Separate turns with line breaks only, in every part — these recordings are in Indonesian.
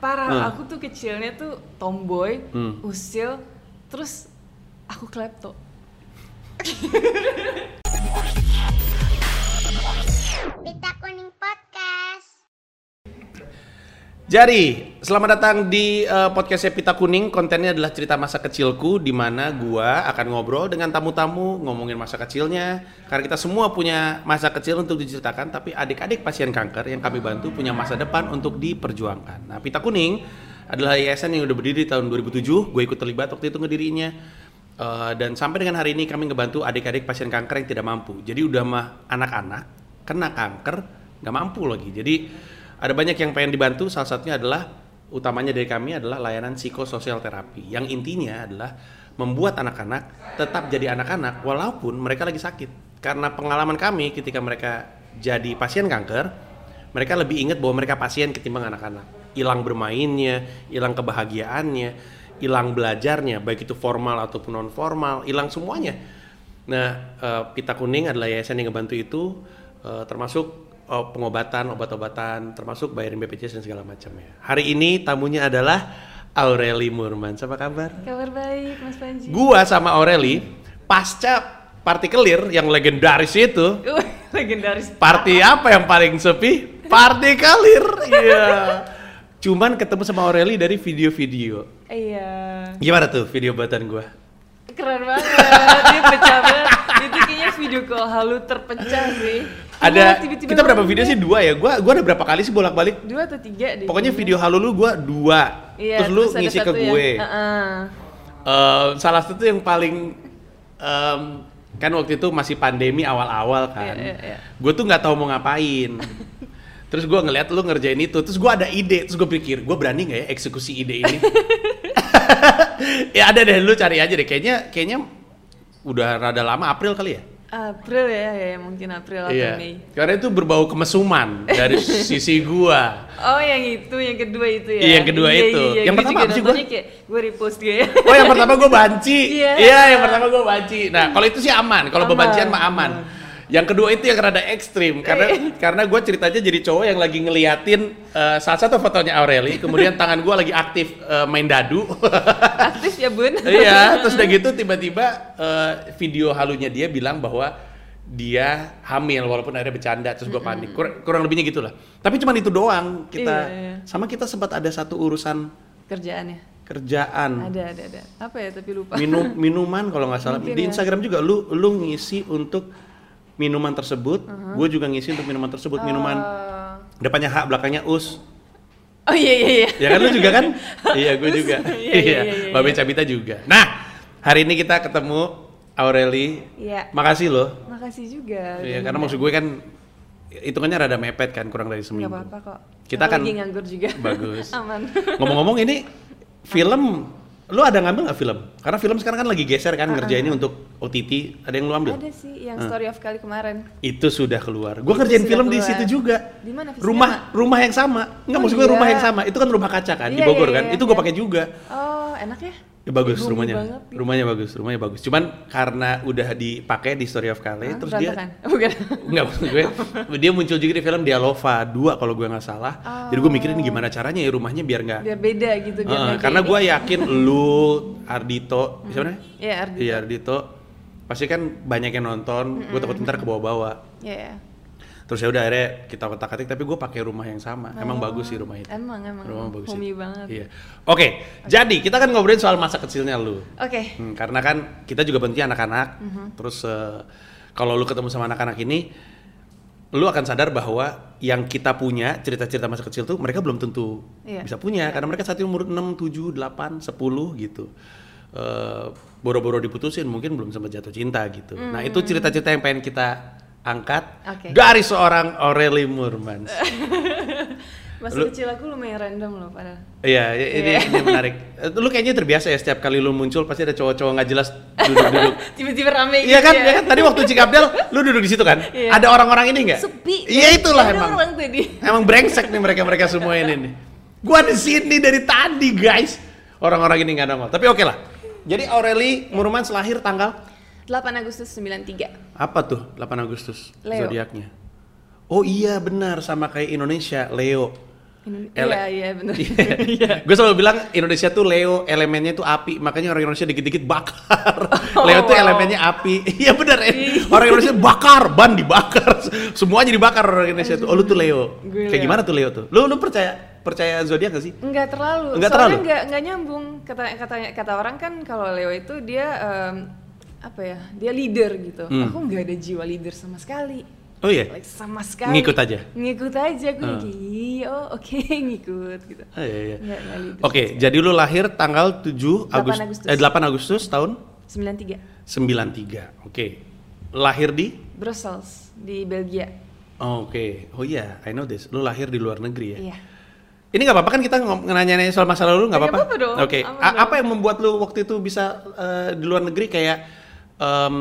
parah
Hmm.
aku tuh kecilnya tuh tomboy
Hmm.
usil terus aku klepto
Pita Kuning Podcast.
Jadi, selamat datang di eh, podcastnya Pita Kuning. Kontennya adalah cerita masa kecilku, di mana gua akan ngobrol dengan tamu-tamu, ngomongin masa kecilnya. Karena kita semua punya masa kecil untuk diceritakan, tapi adik-adik pasien kanker yang kami bantu punya masa depan untuk diperjuangkan. Nah, Pita Kuning adalah yayasan yang udah berdiri tahun 2007. Gue ikut terlibat waktu itu ngedirinya. Eh, dan sampai dengan hari ini kami ngebantu adik-adik pasien kanker yang tidak mampu. Jadi udah mah anak-anak kena kanker nggak mampu lagi. Jadi ada banyak yang pengen dibantu. Salah satunya adalah utamanya dari kami adalah layanan psikososial terapi. Yang intinya adalah membuat anak-anak tetap jadi anak-anak walaupun mereka lagi sakit. Karena pengalaman kami ketika mereka jadi pasien kanker, mereka lebih ingat bahwa mereka pasien ketimbang anak-anak. Hilang bermainnya, hilang kebahagiaannya, hilang belajarnya, baik itu formal ataupun non formal, hilang semuanya. Nah, eh, pita kuning adalah yayasan yang ngebantu itu, eh, termasuk eh, pengobatan, obat-obatan, termasuk bayarin BPJS dan segala macamnya. Hari ini tamunya adalah Aureli Murman. Apa kabar?
kabar baik mas Panji
Gua sama Aureli pasca partikelir yang legendaris itu
Wih, legendaris
Party apa yang paling sepi? Party kalir. Iya. Cuman ketemu sama Aureli dari video-video.
iya
Gimana tuh video buatan gua?
keren banget dia pecah banget itu kayaknya video call halu terpecah sih Wah,
Ada
tiba-tiba
kita berapa
banget
video
ya.
sih? Dua ya. Gua gua ada berapa kali sih bolak-balik?
dua atau tiga deh
Pokoknya
kayaknya.
video halo lu gua dua.
Iya,
terus lu
ada
ngisi
satu
ke
yang-
gue.
Heeh.
Eh, salah satu yang paling em, kan waktu itu masih pandemi awal-awal kan.
Iya, iya, iya.
Gue tuh nggak tahu mau ngapain. terus gue ngeliat lu ngerjain itu, terus gue ada ide, terus gue pikir gue berani nggak ya eksekusi ide ini? ya ada deh lu cari aja deh. Kayaknya kayaknya udah rada lama April kali ya.
April ya, ya ya, mungkin April atau
Iya.
Mei
Karena itu berbau kemesuman dari sisi gua.
Oh yang itu, yang kedua itu ya?
Iya, yang kedua itu. Yang
gue
pertama
juga
apa sih,
nontonnya
gua?
kayak, gue repost kayak
Oh yang pertama gue banci.
Iya.
Iya yang pertama gue banci. Nah kalau itu sih aman. Kalau
Aman.
bebancian mah aman. Yang kedua itu yang rada ekstrim karena
Iya.
karena gue ceritanya jadi cowok yang lagi ngeliatin eh, salah satu fotonya Aureli, kemudian tangan gue lagi aktif eh, main dadu,
aktif ya bun
iya. Terus udah gitu tiba-tiba eh, video halunya dia bilang bahwa dia hamil walaupun akhirnya bercanda terus gue panik kurang, kurang lebihnya gitulah. Tapi cuman itu doang kita
Iya, iya.
sama kita sempat ada satu urusan
Kerjaannya?
kerjaan
Ada, ada, ada Apa ya tapi lupa
Hmm. minum minuman kalau nggak salah
Mungkin
di
ya.
Instagram juga lu lu ngisi untuk minuman tersebut gue juga ngisi untuk minuman tersebut minuman
Oh.
depannya H belakangnya us
Oh iya, iya, iya
ya kan lu juga kan iya gue juga
Iya, iya, iya,
iya Babe Cabita juga nah hari ini kita ketemu Aureli
Iya
makasih loh
Makasih juga
Iya, karena maksud gue kan hitungannya rada mepet kan kurang dari
Gak
seminggu
apa-apa kok
Kita
Aku
kan-
lagi nganggur juga
Bagus.
Aman
Ngomong-ngomong ini film lu ada ngambil nggak film? Karena film sekarang kan lagi geser kan ngerjainnya untuk OTT. Ada yang lu ambil?
Ah,
Ah.
Ada sih yang story of kali kemarin
Itu sudah keluar. Gua ngerjain
sudah
film di
keluar.
situ juga.
Di mana? Di
Rumah rumah yang sama. Enggak
Oh,
maksud gue rumah
iya.
yang sama. Itu kan rumah kaca kan di
Iya,
Bogor
iya,
kan.
iya,
Itu gue
iya.
pakai juga.
Oh enak ya?
Ya, bagus
Bumi
rumahnya.
banget gitu.
Rumahnya bagus, rumahnya bagus. Cuman karena udah dipakai di Story of Kale
Hah,
terus dia
Ah,
Iya.
berantakan? Bukan
Enggak maksud gue, dia muncul juga di film Dialova 2 kalau gue nggak salah. Jadi gue mikirin gimana caranya ya rumahnya biar nggak
Oh. Biar beda gitu biar
Heeh,
nggak
Ah, karena
kayak-
gue yakin lu Ardito siapa namanya?
Iya Ardi
Iya Ardito pasti kan banyak yang
Hmm.
nonton gue takut ntar kebawa-bawa
Iya, iya
terus ya udah akhirnya kita kotak atik tapi gue pakai rumah yang sama emang bagus sih rumah itu
Oh, Emang, emang
rumah bagus
Homey
itu.
banget
iya oke jadi kita kan ngobrolin soal masa kecilnya lu
Oke
Hmm, karena kan kita juga bentuknya anak-anak.
Mm-hmm.
Terus eh, kalau lu ketemu sama anak-anak ini, lu akan sadar bahwa yang kita punya cerita-cerita masa kecil tuh mereka belum tentu
Iya.
bisa punya karena mereka saat ini umur 6, 7, 8, 10 gitu. Eh, boro-boro diputusin mungkin belum sempat jatuh cinta gitu. Nah, itu cerita-cerita yang pengen kita angkat
Hmm. Oke.
dari seorang Aureli Murman.
Masa
Lu-
kecil aku lumayan random loh padahal
Iya, i- ini, ini menarik. Eh, Lu kayaknya terbiasa ya setiap kali lu muncul pasti ada cowok-cowok nggak jelas duduk-duduk.
Tiba-tiba rame gitu
Iya kan, iya kan? Tadi waktu Cikapdel, lu duduk di situ kan?
Iya.
Ada orang-orang ini nggak?
Sepi
Iya itulah
Ada
emang.
orang tadi
Emang brengsek nih mereka-mereka semua ini nih. Gua di sini dari tadi guys. Orang-orang ini nggak nongol. Tapi oke lah. Jadi Aureli Murmans lahir tanggal
8 Agustus 93
apa tuh? 8 Agustus
Leo.
zodiaknya. Oh iya benar sama kayak Indonesia, Leo.
Indone-
Ele-
Iya, iya benar. Iya.
Gue selalu bilang Indonesia tuh Leo elemennya tuh api, makanya orang Indonesia dikit-dikit bakar. Leo tuh
Oh, wow.
elemennya api. Iya benar.
Iya.
Orang Indonesia bakar, ban dibakar, semuanya dibakar orang Indonesia tuh. Oh lu tuh Leo.
Gue
Kayak
Leo.
gimana tuh Leo tuh? Lu lu percaya percaya zodiak gak sih?
Enggak terlalu.
Nggak
Soalnya
terlalu?
Enggak, enggak nyambung. Kata kata kata orang kan kalau Leo itu dia em, apa ya? Dia leader gitu.
Hmm.
Aku enggak ada jiwa leader sama sekali.
Oh iya.
Like sama sekali.
Ngikut aja?
Ngikut aja gue
Hmm.
kayak, "Iya, oh oke ngikut gitu.
Oh, iya, iya.
Enggak, enggak leader.
Oke, jadi lu lahir tanggal 7
8
Agustus,
Agustus.
eh 8 Agustus tahun
93
93. Oke. Lahir di
Brussels di Belgia.
Oh, Oke, oh iya, I know this. Lu lahir di luar negeri ya?
Iya.
Ini nggak apa-apa kan kita ngom- nanya-nanya soal masa lalu nggak
Nggak
apa-apa?
apa-apa dong,
Oke.
aman
A-
dong.
Apa yang membuat lu waktu itu bisa eh, di luar negeri kayak em,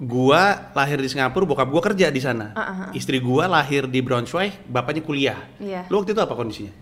gua lahir di Singapura, bokap gua kerja di sana.
Ah, ah, ah.
Istri gua lahir di Braunschweig, bapaknya kuliah.
Iya.
Lu waktu itu apa kondisinya?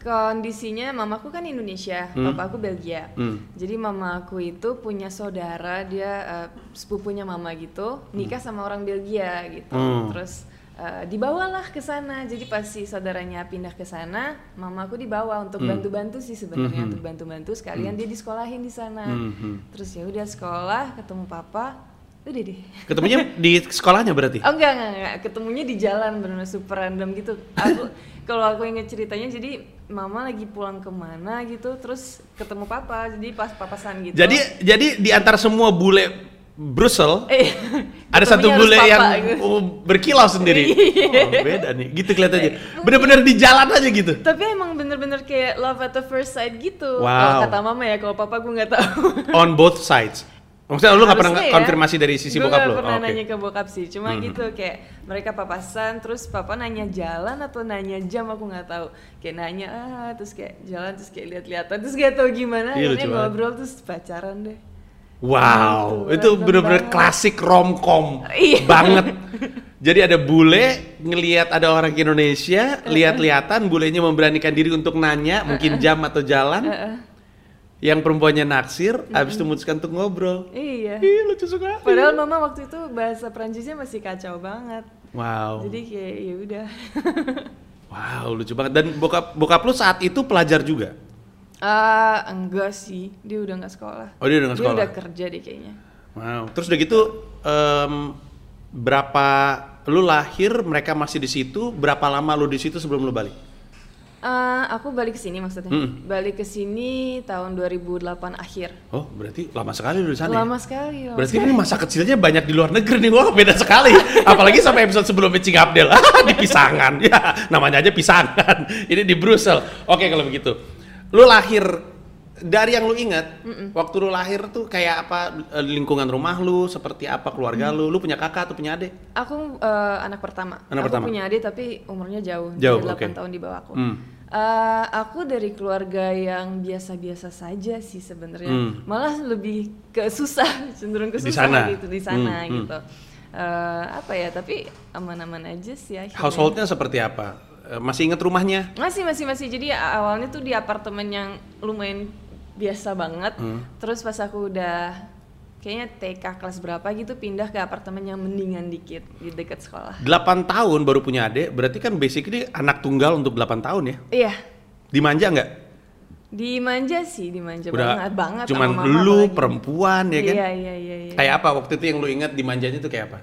Kondisinya mamaku kan Indonesia,
Hmm.
papaku Belgia.
Hmm.
Jadi mamaku itu punya saudara, dia eh, sepupunya mama gitu, nikah sama orang Belgia gitu.
Hmm.
Terus eh, dibawalah ke sana. Jadi pas si saudaranya pindah ke sana, mamaku dibawa untuk
Hmm.
bantu-bantu sih sebenarnya,
Mhm.
untuk bantu-bantu sekalian dia disekolahin di sana.
Mhm.
Terus ya udah sekolah, ketemu papa, udah deh.
Ketemunya di sekolahnya berarti?
Oh enggak, enggak, enggak. Ketemunya di jalan benar super random gitu. Aku kalau aku inget ceritanya jadi mama lagi pulang kemana gitu terus ketemu papa jadi pas papasan gitu.
Jadi jadi di antara semua bule Brussel
eh,
ada satu
ketemunya harus
bule
papa,
yang
gitu. Iya.
oh, berkilau sendiri. Oh, beda nih. Gitu kelihatannya. Bener-bener di jalan aja gitu.
Tapi emang bener-bener kayak love at the first sight gitu. Kalau
Wow.
kata mama ya, kalau papa gue nggak tahu.
on both sides. Maksudnya lu nggak pernah
Harusnya ya.
konfirmasi dari sisi
Gua
bokap
nggak
lu?
pernah
Oke.
nanya gitu. ke bokap sih, cuma
Mhm.
gitu kayak mereka papasan, terus papa nanya jalan atau nanya jam aku nggak tahu. Kayak nanya, ah, terus kayak jalan, terus kayak lihat-lihatan, terus gak tahu gimana,
Iya,
akhirnya
lucu banget.
ngobrol terus pacaran deh.
Wow,
Gitu,
itu
random
bener-bener
banget.
klasik romcom
Iya.
banget. Jadi ada bule ngelihat ada orang Indonesia, lihat-lihatan bulenya memberanikan diri untuk nanya, mungkin jam atau jalan.
Heeh.
Yang perempuannya naksir, habis itu memutuskan untuk ngobrol.
iya.
Ih, lucu sekali.
Padahal mama waktu itu bahasa Prancisnya masih kacau banget.
Wow.
Jadi kayak ya udah.
Wow, lucu banget. Dan bokap bokap lu saat itu pelajar juga.
Ah, enggak sih, dia udah nggak sekolah.
Oh, dia udah nggak sekolah.
Dia udah kerja deh kayaknya.
Wow. Terus udah gitu em, berapa lu lahir mereka masih di situ, berapa lama lu di situ sebelum lu balik?
Eh, aku balik ke sini maksudnya.
Mm.
Balik ke sini tahun 2008 akhir.
Oh, berarti lama sekali lu di sana. ya?
Lama sekali. Lama
Berarti ini masa kecilnya banyak di luar negeri nih. Wah, beda sekali. Apalagi sampai episode sebelumnya Cing Abdel di pisangan. Ya, namanya aja pisangan. Ini di Brussel. Oke, kalau begitu. Lu lahir dari yang lu ingat, waktu lu lahir tuh kayak apa eh, lingkungan rumah lu, seperti apa keluarga lu, lu punya kakak atau punya adik?
Aku eh, anak pertama. aku
Anak pertama.
punya adik tapi umurnya jauh.
Jauh,
Dia 8
oke.
tahun di bawah aku.
Hmm.
Eh, aku dari keluarga yang biasa-biasa saja sih sebenarnya.
Hmm.
Malah lebih ke susah, cenderung ke
Di
susah
sana.
gitu di sana
Hmm, hmm.
gitu. Eh, apa ya? Tapi aman-aman aja sih akhirnya.
Householdnya seperti apa? Eh, Masih inget rumahnya?
Masih masih masih. Jadi a- awalnya tuh di apartemen yang lumayan biasa banget.
Hmm.
Terus pas aku udah kayaknya TK kelas berapa gitu pindah ke apartemen yang mendingan dikit di dekat sekolah.
8 tahun baru punya adik, berarti kan basically anak tunggal untuk 8 tahun ya.
Iya.
Dimanja nggak?
Dimanja sih, dimanja banget banget
cuman
sama mama
lu
apalagi.
perempuan ya kan?
Iya, iya, iya, iya.
Kayak apa waktu itu yang lu ingat dimanjanya tuh kayak apa?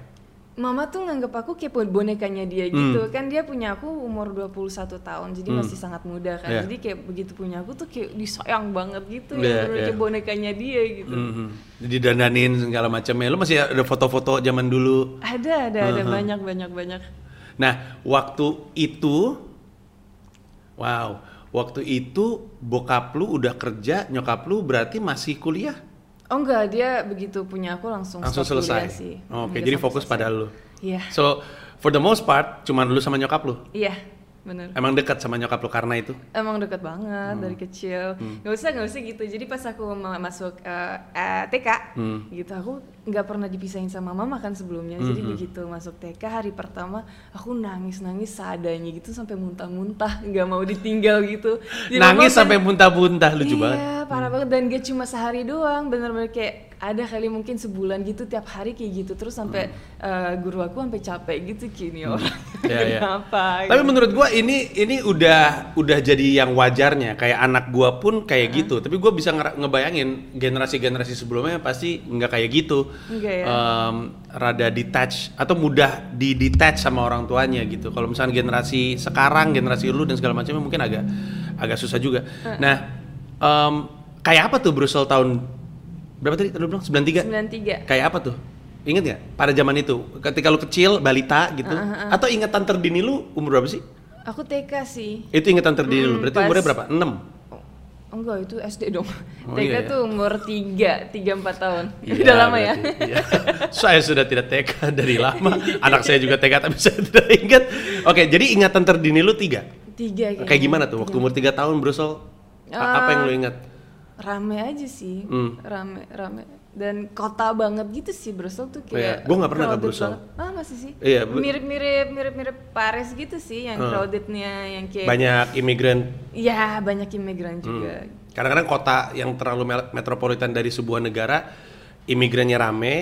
Mama tuh nganggep aku kayak bonekanya dia gitu. Kan dia punya aku umur 21 tahun, jadi
Hmm.
masih sangat muda kan.
Iya.
Jadi kayak begitu punya aku tuh kayak disayang banget gitu.
Iya,
ya, bener-bener
iya.
kayak bonekanya dia gitu.
Mhm. Didandanin segala macamnya. Lu masih ada foto-foto zaman dulu.
Ada, ada, ada
Uh-huh.
banyak, banyak, banyak.
Nah, waktu itu wow, waktu itu bokap lu udah kerja, nyokap lu berarti masih kuliah.
Oh enggak, dia begitu punya aku langsung
Langsung
stop
selesai. Oh,
kuliah sih.
Oke,
Enggak
jadi
sampai
fokus
selesai.
pada lu.
Iya.
So, for the most part cuman lu sama nyokap lu.
Iya, bener.
Emang dekat sama nyokap lu karena itu?
Emang deket banget
Hmm.
dari kecil. Gak usah, gak usah gitu. Jadi pas aku ma- masuk eh, eh, TK,
Hmm.
gitu aku nggak pernah dipisahin sama mama kan sebelumnya. Jadi
hmm.
begitu masuk TK hari pertama, aku nangis-nangis seadanya gitu sampai muntah-muntah, nggak mau ditinggal gitu. Jadi mama
Nangis
kan-
sampai muntah-muntah lucu
iya,
banget.
parah banget dan gak cuma sehari doang, bener-bener kayak ada kali mungkin sebulan gitu tiap hari kayak gitu terus sampai
Hmm.
eh, guru aku sampai capek gitu kini orang
Ya, ya.
kenapa
Tapi
gitu.
menurut gua ini ini udah udah jadi yang wajarnya. Kayak anak gua pun kayak gitu. Tapi gua bisa ngera- ngebayangin generasi-generasi sebelumnya pasti nggak kayak gitu.
Nggak ya?
Em, rada detach atau mudah di detach sama orang tuanya gitu. Kalau misalnya generasi sekarang, generasi lu dan segala macamnya mungkin agak agak susah juga. Nah, em, kayak apa tuh Brussel tahun berapa tadi? Lu bilang 93.
93
Kayak apa tuh? Ingat nggak? Pada zaman itu, ketika lu kecil, balita gitu,
Ah,
atau ingatan terdini lu umur berapa sih?
aku TK sih
Itu ingatan terdini lu,
Mm,
berarti
pas-
umurnya berapa? 6?
Oh, enggak itu SD dong
Oh,
TK
iya ya.
tuh umur 3 3 4 tahun udah lama ya
ya? saya sudah tidak TK dari lama, anak saya juga TK tapi saya tidak ingat. Oke, jadi ingatan terdini lu tiga.
3
Kayak gimana tuh? Waktu umur tiga tahun, Brusel, a- apa
Ah,
yang lu ingat?
rame aja sih
Hmm.
rame rame dan kota banget gitu sih Brussels tuh
Iya,
kayak
gua nggak pernah ke
crowded
Brussels.
banget. ah masih sih
Iya, bu-
mirip mirip mirip mirip Paris gitu sih yang
Hmm.
crowdednya yang kayak
Banyak Hmm. imigran.
ya banyak imigran juga
Kadang-kadang kota yang terlalu mel- metropolitan dari sebuah negara, imigrannya rame,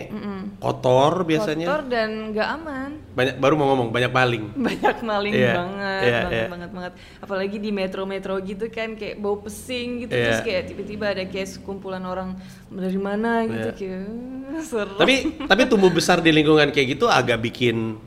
kotor biasanya.
kotor dan nggak aman
banyak baru mau ngomong banyak paling
banyak maling
Iya,
banget,
iya,
banget,
iya.
banget, banget. Apalagi di metro-metro gitu kan kayak bau pesing gitu
Iya.
terus kayak tiba-tiba ada kayak sekumpulan orang dari mana gitu
Iya.
kayak "Uh, seru.
tapi tapi tumbuh besar di lingkungan kayak gitu agak bikin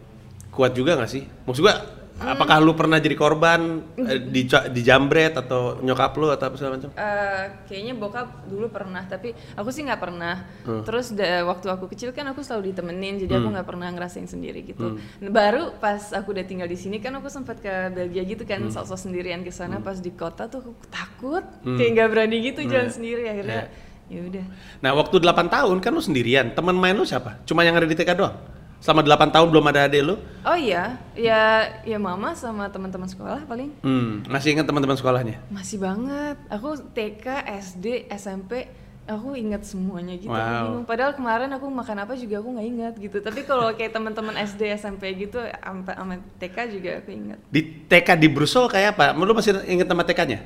kuat juga nggak sih maksud gua apakah lu pernah jadi korban eh, dica- dijambret atau nyokap lu atau apa segala macam
Eh, kayaknya bokap dulu pernah tapi aku sih nggak pernah terus da- waktu aku kecil kan aku selalu ditemenin jadi aku nggak pernah ngerasain sendiri gitu baru pas aku udah tinggal di sini kan aku sempat ke Belgia gitu kan sok-sok sendirian ke sana pas di kota tuh aku takut kayak nggak berani gitu jalan sendiri akhirnya ya udah
nah waktu 8 tahun kan lu sendirian teman main lu siapa cuma yang ada di TK doang selama 8 tahun belum ada adik lu
Oh iya, ya ya mama sama teman-teman sekolah paling
hmm, masih ingat teman-teman sekolahnya
masih banget. Aku TK, SD, SMP, aku ingat semuanya gitu. aku
Wow.
bingung. Padahal kemarin aku makan apa juga aku nggak ingat gitu. Tapi kalau kayak teman-teman SD, SMP gitu, sampai sama TK juga aku ingat.
di TK di Brussel kayak apa lu masih ingat nama TK-nya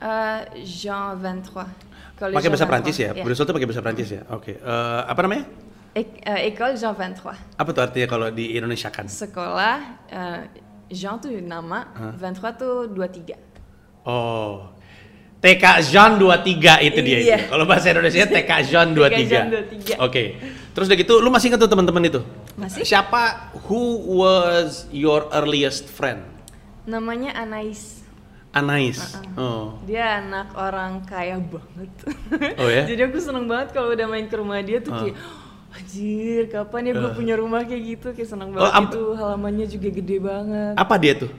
Eh, Jean 23. Collège
pakai bahasa
Jean
Prancis
23,
ya Brussel tuh pakai bahasa Prancis ya oke Eh, apa namanya
Ek- eh, École Jean 23.
apa tuh artinya kalau di Indonesia kan
Sekolah eh, Jean tuh nama, 23 tuh 23.
Oh. TK Jean 23 itu dia
Iya.
itu. Kalau bahasa Indonesia TK Jean 23.
TK Jean 23.
Oke. Terus udah gitu lu masih ingat tuh teman-teman itu?
Masih.
Siapa who was your earliest friend?
Namanya Anais.
Anais.
Uh-uh.
Oh.
Dia anak orang kaya banget.
Oh ya? Ah.
Jadi aku seneng banget kalau udah main ke rumah dia tuh kayak "Oh, anjir kapan ya gue punya rumah kayak gitu kayak seneng banget
Oh, am-
itu halamannya juga gede banget.
Apa dia tuh?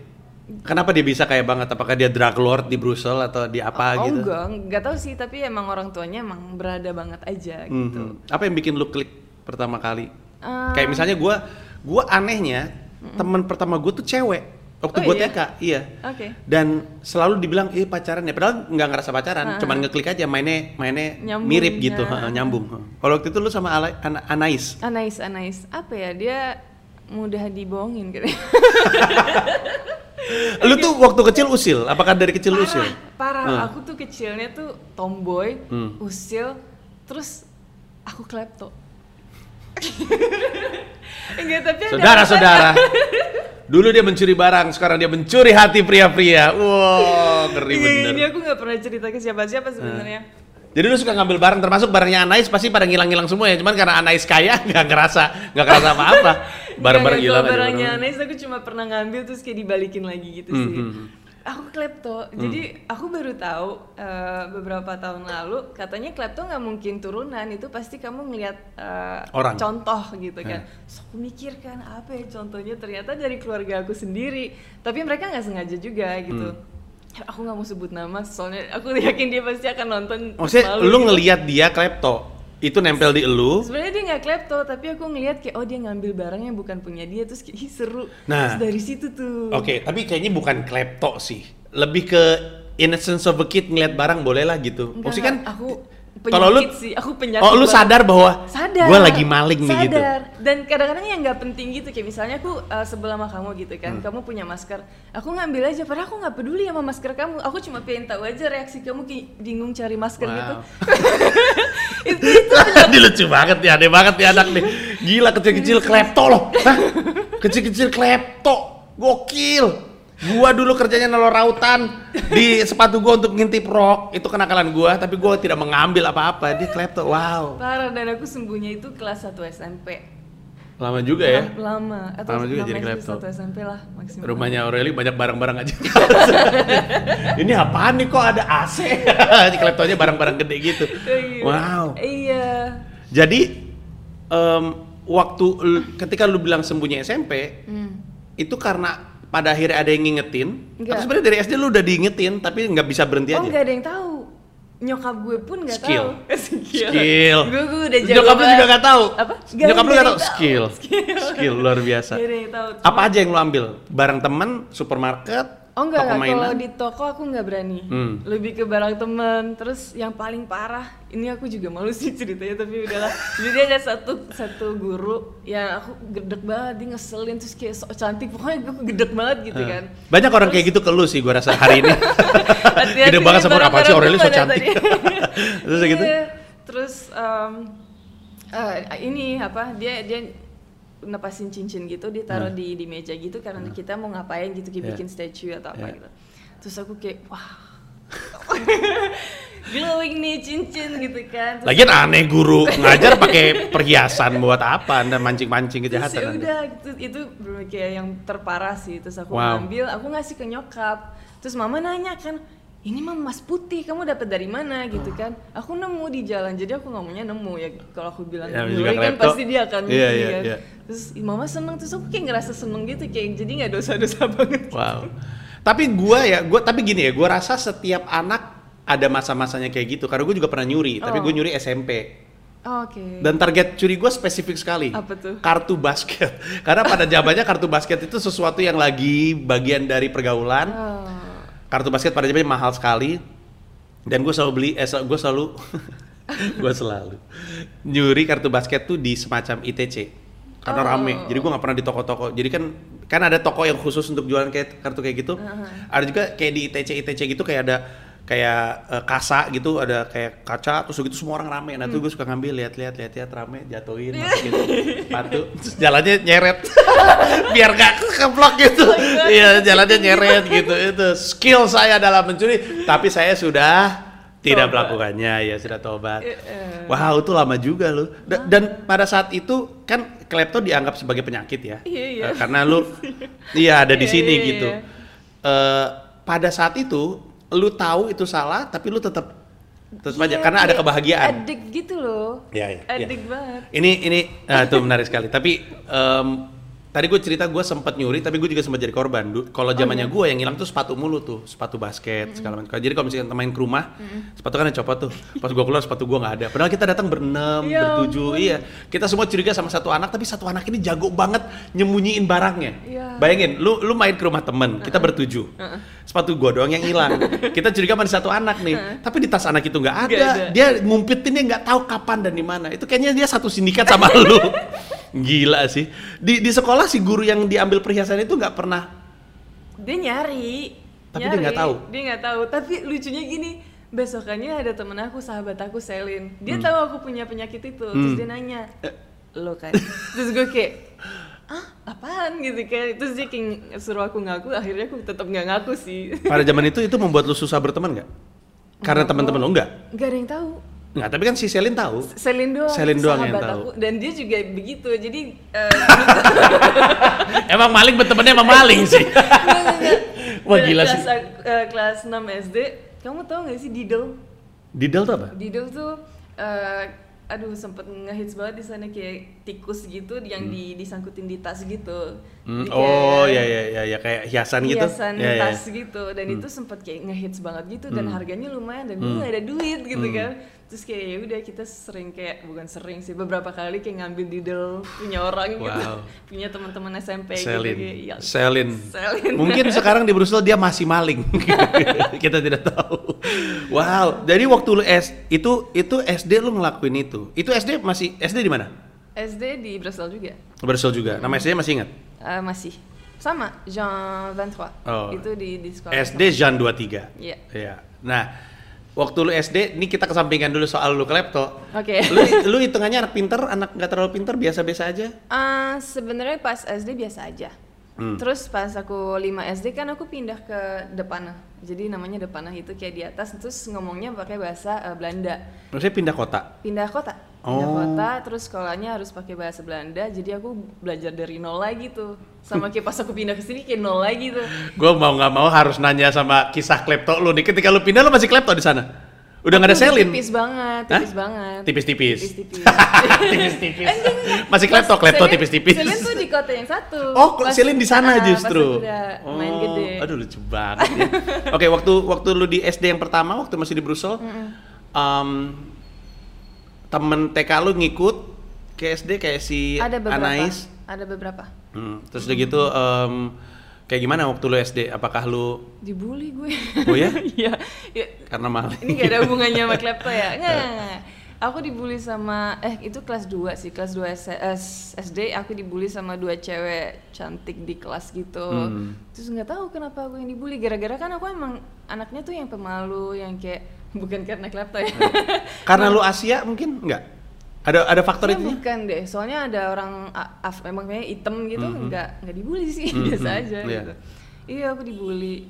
Kenapa dia bisa kayak banget? Apakah dia drug lord di Brussel atau di apa
oh
gitu?
enggak, enggak tahu sih tapi emang orang tuanya emang berada banget aja
Mhm.
gitu.
Apa yang bikin lu klik pertama kali?
Eh.
Kayak misalnya gua gua anehnya teman pertama gua tuh cewek waktu
Oh,
gua
iya?
TK, iya.
Oke.
dan selalu dibilang eh pacaran ya padahal nggak ngerasa pacaran cuman ngeklik aja mainnya mainnya
Nyambungnya.
mirip gitu
ya.
ha, nyambung Ha. kalau waktu itu lu sama Ala- Ana- Anais
Anais, Anais, apa ya dia mudah dibohongin gitu.
lu tuh waktu kecil usil apakah dari kecil lu usil Ah.
parah, parah. Aku tuh kecilnya tuh tomboy,
Hmm.
usil, terus aku klepto. Enggak, tapi ada
saudara-saudara dulu dia mencuri barang sekarang dia mencuri hati pria-pria wow
Iya,
ngeri bener Ah.
ini aku nggak pernah cerita ke siapa-siapa sebenarnya.
jadi lu suka ngambil barang termasuk barangnya Anais pasti pada ngilang-ngilang semua ya cuman karena Anais kaya nggak ngerasa nggak ngerasa apa-apa
Iya, Nggak, nggak,
barang-barang hilang
kalau
aja
Barangnya
barang-barang.
Anais aku cuma pernah ngambil terus kayak dibalikin lagi gitu
Hmm,
sih.
hmm, hmm.
Aku klepto. Jadi aku baru tahu eh, beberapa tahun lalu katanya klepto nggak mungkin turunan itu pasti kamu ngelihat eh,
Orang. Iya.
contoh gitu kan. Terus aku mikir kan apa ya contohnya ternyata dari keluarga aku sendiri. Tapi mereka nggak sengaja juga gitu.
Hmm.
Aku nggak mau sebut nama soalnya aku yakin dia pasti akan nonton.
maksudnya
malu
lu
gitu.
ngelihat dia klepto itu nempel di elu
Sebenarnya dia nggak klepto, tapi aku ngelihat kayak oh dia ngambil barang yang bukan punya dia terus kayak "Ih, seru.
Nah.
Terus dari situ tuh.
Oke, tapi kayaknya bukan klepto sih. Lebih ke innocence of a kid ngeliat barang boleh lah gitu.
Enggak,
Maksudnya kan
enggak, aku
Kalau lu-
penyakit sih aku penyakit
Oh, lu
banget.
sadar bahwa
sadar
gua lagi maling nih gitu.
Sadar. dan kadang-kadang yang nggak penting gitu kayak misalnya aku uh, sebelah sama kamu gitu
Hmm.
kan kamu punya masker aku ngambil aja padahal aku nggak peduli sama masker kamu aku cuma pengen tahu aja reaksi kamu ki- bingung cari masker
Wow.
gitu itu, itu
Dia lucu banget ya, aneh banget nih anak nih. Gila kecil-kecil klepto loh. Hah? Kecil-kecil klepto. Gokil. Gua dulu kerjanya nelor rautan di sepatu gua untuk ngintip rok. Itu kenakalan gua, tapi gua tidak mengambil apa-apa. Dia klepto. Wow.
parah dan aku sembuhnya itu kelas 1 SMP
Lama juga ya.
lama atau
Lama juga jadi
namanya
klepto.
satu SMP lah maksimal
Rumahnya Aureli banyak barang-barang aja. Ini apaan nih kok ada AC? Di kleptonya barang-barang gede gitu.
Iya.
Wow.
iya
Jadi em, waktu l- ketika lu bilang sembunyi SMP,
hmm.
itu karena pada akhirnya ada yang ngingetin.
Enggak.
Tapi sebenarnya dari SD lu udah diingetin, tapi nggak bisa
oh
berhenti aja.
nggak ada yang tahu nyokap gue pun nggak
ya. Skill.
tahu skill
Skill.
gue gue udah jago
Nyokap lu juga
banget.
nggak tahu.
apa
Nyokap lu
ada
nggak tahu.
yang
Skill.
skill
Skill luar biasa.
Nggak ada yang tahu Cuma-
Apa aja yang lu ambil? Barang teman, supermarket,
Oh enggak,
toko
enggak. kalau
mainan.
di toko aku nggak berani.
Hmm.
Lebih ke barang temen. Terus yang paling parah, ini aku juga malu sih ceritanya tapi udahlah. Jadi ada satu satu guru yang aku gedek banget, dia ngeselin terus kayak sok cantik. Pokoknya aku gedek banget gitu
Eh.
kan.
Banyak orang kayak gitu ke lu sih gua rasa hari ini.
Hati-hati
Gede
nih,
banget sama orang, apaan sih
barang-barang
Aureli so
gimana
cantik.
tadi?
Terus kayak gitu?
Iya. Terus em, eh, ini apa? Dia dia nepasin cincin gitu ditaruh di di meja gitu karena kita mau ngapain gitu kayak
Nah. Iya.
bikin statue atau apa
Iya.
gitu. Terus aku kayak wah. glowing nih cincin gitu kan. Terus
Lagian aneh guru ngajar pakai perhiasan buat apa? Anda mancing-mancing
terus ya
kejahatan. Anda.
udah gitu, itu bener kayak yang terparah sih terus aku
Wow.
ngambil aku ngasih ke nyokap terus mama nanya kan ini mah emas putih kamu dapat dari mana gitu
Ah.
kan aku nemu di jalan jadi aku ngomongnya nemu ya kalau aku bilang
Ya,
dulu
juga
kan
klepto.
pasti dia akan
Iya,
ini
iya,
kan.
iya.
terus ih, mama seneng terus aku kayak ngerasa seneng gitu kayak jadi nggak dosa-dosa banget
Wow. Tapi gua ya, gua tapi gini ya, gua rasa setiap anak ada masa-masanya kayak gitu. Karena gua juga pernah nyuri, tapi
Oh.
gua nyuri SMP.
Oh, oke
Dan target curi gua spesifik sekali.
Apa tuh?
Kartu basket. Karena pada zamannya kartu basket itu sesuatu yang lagi bagian dari pergaulan.
Oh.
Kartu basket pada zamannya mahal sekali. Dan gua selalu beli, eh, sel- gua selalu, gua selalu nyuri kartu basket tuh di semacam ITC. Karena
Oh.
rame, jadi gua nggak pernah di toko-toko. Jadi kan, kan ada toko yang khusus untuk jualan kayak kartu kayak gitu. Ada juga kayak di ITC ITC gitu kayak ada kayak eh, kasa gitu, ada kayak kaca terus gitu semua orang rame. Nah
Hmm.
tuh gue suka ngambil lihat-lihat lihat-lihat rame, jatuhin masukin sepatu, terus jalannya nyeret biar gak
Oh
keblok gitu. Iya jalannya nyeret gitu itu skill saya dalam mencuri. Tapi saya sudah
Tobat.
tidak melakukannya ya sudah tobat.
Iya.
Wow, itu lama juga lu. Da- Dan pada saat itu kan klepto dianggap sebagai penyakit ya.
Iya, iya.
Eh, karena lu iya ada di
Iya,
sini
iya, iya.
gitu. Eh, pada saat itu lu tahu itu salah tapi lu tetap tetap
Iya,
aja karena ada
kayak
kebahagiaan.
adik gitu loh
Iya, iya, iya.
adik banget
Ini ini eh, itu menarik sekali. Tapi em, tadi gue cerita gue sempat nyuri, tapi gue juga sempat jadi korban. Du- Kalau zamannya gue yang hilang tuh sepatu mulu tuh, sepatu basket segala macam. Jadi kalau misalkan main ke rumah, sepatu kan dicopot tuh. Pas gue keluar sepatu gue nggak ada. Padahal kita datang berenam,
Ya
bertujuh, iya. Kita semua curiga sama satu anak, tapi satu anak ini jago banget nyemunyiin barangnya.
Iya.
Bayangin, lu lu main ke rumah temen, kita bertujuh, sepatu gue doang yang hilang. kita curiga pada satu anak nih, tapi di tas anak itu nggak ada.
Nggak ada.
Dia dia ngumpitinnya nggak tahu kapan dan di mana. Itu kayaknya dia satu sindikat sama lu. Gila sih. Di di sekolah si guru yang diambil perhiasan itu nggak pernah.
dia nyari
Tapi dia nggak tahu.
dia nggak tahu tapi lucunya gini besokannya ada temen aku sahabat aku Selin dia tahu aku punya penyakit itu terus
Hmm.
dia nanya lo kan terus gue kayak ah apaan gitu kayak terus dia kayak suruh aku ngaku akhirnya aku tetap nggak ngaku sih
Pada zaman itu itu membuat lu susah berteman nggak? Karena teman-teman lu nggak.
nggak ada yang tahu
Nggak, tapi kan si Selin tahu.
Selin doang,
Selin doang yang
sahabat
tahu.
aku dan dia juga begitu jadi eh,
Emang maling bertemannya emang maling sih.
enggak, enggak, enggak.
Wah, gila
kelas,
sih.
aku- eh, kelas 6 SD kamu tahu nggak sih Diddle
Didel tuh apa?
Dido tuh eh, aduh sempet ngehits banget di sana kayak tikus gitu yang di, disangkutin di tas gitu.
Hmm,
Jadi
Oh ya
kayak
ya ya ya kayak hiasan gitu.
Hiasan
Ya, ya. Hmm.
tas gitu dan itu sempet kayak ngehits banget gitu dan harganya lumayan dan gue gak ada duit gitu kan. terus kayak ya udah kita sering kayak bukan sering sih beberapa kali kayak ngambil didel punya orang gitu
Wow.
punya teman-teman SMP
Selin.
gitu kayak, ya,
Selin.
selin
Mungkin sekarang di Brussel dia masih maling. Kita tidak tahu. Wow. Jadi waktu lu S itu itu SD lu ngelakuin itu. Itu SD masih SD di mana?
SD di Brussel juga
Brussel juga. Nama SD masih ingat?
Eh, masih sama Jean 23
Oh.
itu di di sekolah
SD Jan 23.
Iya.
Iya. Nah, waktu lu SD, ini kita kesampingkan dulu soal lu klepto.
Oke.
Lu lu hitungannya anak pinter, anak nggak terlalu pinter, biasa-biasa aja.
Ah, sebenarnya pas SD biasa aja.
Hmm.
Terus pas aku 5 SD kan aku pindah ke Depanah. Jadi namanya Depanah itu kayak di atas terus ngomongnya pakai bahasa eh, Belanda.
Maksudnya pindah kota.
Pindah kota. Pindah
Oh.
kota terus sekolahnya harus pakai bahasa Belanda. Jadi aku belajar dari nol lagi tuh.
Hmm.
Sama kayak pas aku pindah ke sini kayak nol lagi tuh.
Gue mau nggak mau harus nanya sama kisah klepto lu nih. Ketika lu pindah, lu masih klepto di sana. Udah nggak ada
Aduh,
selin.
Tipis banget,
Hah?
tipis banget.
Tipis-tipis.
Tipis-tipis.
Tipis-tipis. Masih klepto, klepto
Selin-
tipis-tipis.
Selin tuh di kota yang satu.
Oh, kok
Pas-
Selin di sana
ah, pas
justru.
aku udah main
Oh,
gede.
Aduh lucu banget. ya. Oke, waktu waktu lu di SD yang pertama, waktu masih di Brussel, em, temen TK lu ngikut ke SD kayak si
ada beberapa.
Anais.
Ada beberapa.
Hmm, terus udah gitu em, kayak gimana waktu lu SD? Apakah lu
Dibully gue.
Oh ya?
Iya. Ya,
karena maling?
Ini gak ada hubungannya sama klepto ya? Enggak, enggak, enggak. Aku dibully sama eh itu kelas 2 sih, kelas 2 S- S- SD aku dibully sama dua cewek cantik di kelas gitu.
Hmm.
Terus nggak tahu kenapa aku yang dibully gara-gara kan aku emang anaknya tuh yang pemalu, yang kayak bukan karena klepto ya.
Karena lu Asia mungkin enggak? Ada ada faktor
Kayaknya
itu? ya?
bukan deh, soalnya ada orang a- af, memang kayaknya item gitu, nggak nggak dibully sih
Mhm,
biasa aja.
iya.
Gitu. Iya aku dibully,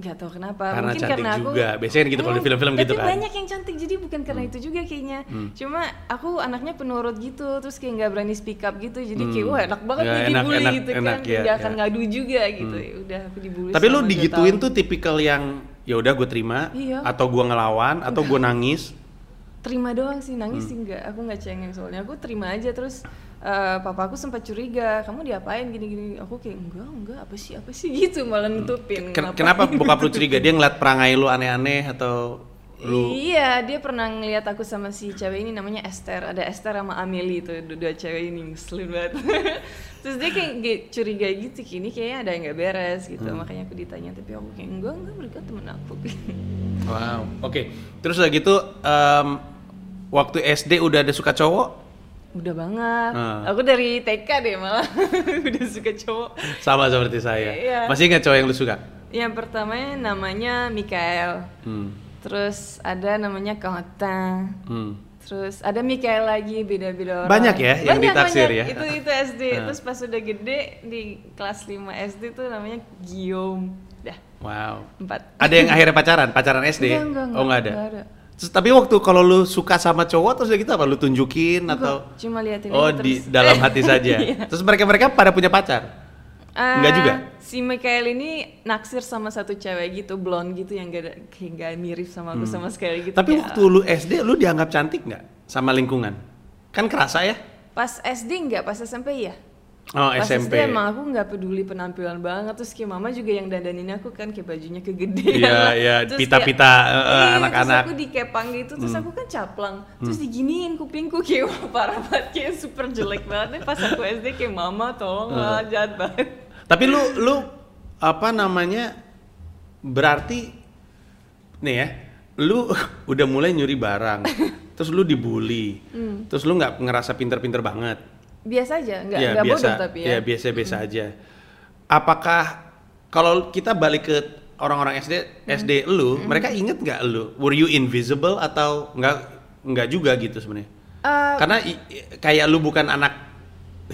nggak tahu kenapa.
Karena
Mungkin
cantik
karena aku,
juga. Biasanya kan gitu kalau di
Hmm,
film-film gitu
tapi
kan. Hmm.
banyak yang cantik jadi bukan karena itu juga kayaknya. Cuma aku anaknya penurut gitu, terus kayak nggak berani speak up gitu, jadi kayak
Hmm.
wah enak banget
Ya,
nih
enak,
dibully
enak,
gitu
enak,
kan,
iya,
nggak akan
iya. Hmm.
ngadu juga gitu. Ya Udah aku dibully.
Tapi lu
selama dua
digituin
tahun.
tuh tipikal yang ya udah gue terima
Iya.
atau gua ngelawan atau gua nangis.
terima doang sih nangis
Hmm.
sih enggak aku nggak cengeng soalnya aku terima aja terus eh, papa aku sempat curiga kamu diapain gini-gini aku kayak enggak enggak apa sih apa sih gitu malah nutupin
Hmm. Ken- Kenapa
ngapain.
bokap lu curiga? Dia ngeliat perangai lu aneh-aneh atau lu
iya dia pernah ngeliat aku sama si cewek ini namanya Esther ada Esther sama Amelie itu dua, dua cewek ini ngeselin banget terus dia kayak ge- curiga gitu kayak ini kayaknya ada yang nggak beres gitu
Hmm.
makanya aku ditanya tapi aku kayak enggak enggak mereka temen aku
wow. Oke. Terus udah gitu em, waktu SD udah ada suka cowok?
udah banget
Ah.
aku dari TK deh malah udah suka cowok
Sama seperti saya.
Iya.
Masih ingat cowok yang lu suka?
Yang pertama namanya Mikael.
Hmm.
Terus ada namanya Quentin.
Hmm.
Terus ada Mikael lagi beda-beda orang.
Banyak ya yang ditaksir
banyak.
ya?
Itu itu SD.
Ah.
Terus pas udah gede di kelas 5 SD tuh namanya Guillaume. Dah,
Wow.
empat.
Ada yang akhirnya pacaran, pacaran SD?
Enggak,
ya?
enggak, enggak,
oh, enggak ada.
enggak ada.
Terus tapi waktu kalau lu suka sama cowok terus udah gitu apa? Lu tunjukin atau
Enggak, cuma liatin
Oh,
aja
di
terus.
dalam hati saja.
Iya.
Terus mereka-mereka pada punya pacar. Enggak
Ah,
juga?
Si Mikael ini naksir sama satu cewek gitu, blonde gitu yang gak, ada- kayak gak mirip sama aku sama sekali gitu.
Hmm. Tapi
Kayak,
waktu lu SD lu dianggap cantik nggak sama lingkungan? Kan kerasa ya?
Pas SD enggak, pas SMP ya?
Oh
Pas
SMP.
SD emang aku nggak peduli penampilan banget terus kayak mama juga yang dandanin aku kan kayak bajunya kegedean
Iya,
lah.
iya,
Terus
pita-pita,
kayak-
eh, eh,
iya,
anak-anak.
terus aku dikepang gitu terus aku kan caplang terus diginiin kupingku kayak wah, parah banget kayak super jelek banget nih pas aku SD kayak mama tolong lah jahat banget
Tapi lu lu apa namanya? Berarti nih ya, lu udah mulai nyuri barang. terus lu dibully. Terus lu nggak ngerasa pinter-pinter banget.
biasa aja Hmm. nggak
ya,
nggak
biasa,
bodoh tapi ya,
biasa-biasa aja. Apakah kalau kita balik ke orang-orang SD
Hmm.
SD lu, mereka inget nggak lu? Were you invisible atau nggak nggak juga gitu sebenarnya?
Eh,
Karena i- i- kayak lu bukan anak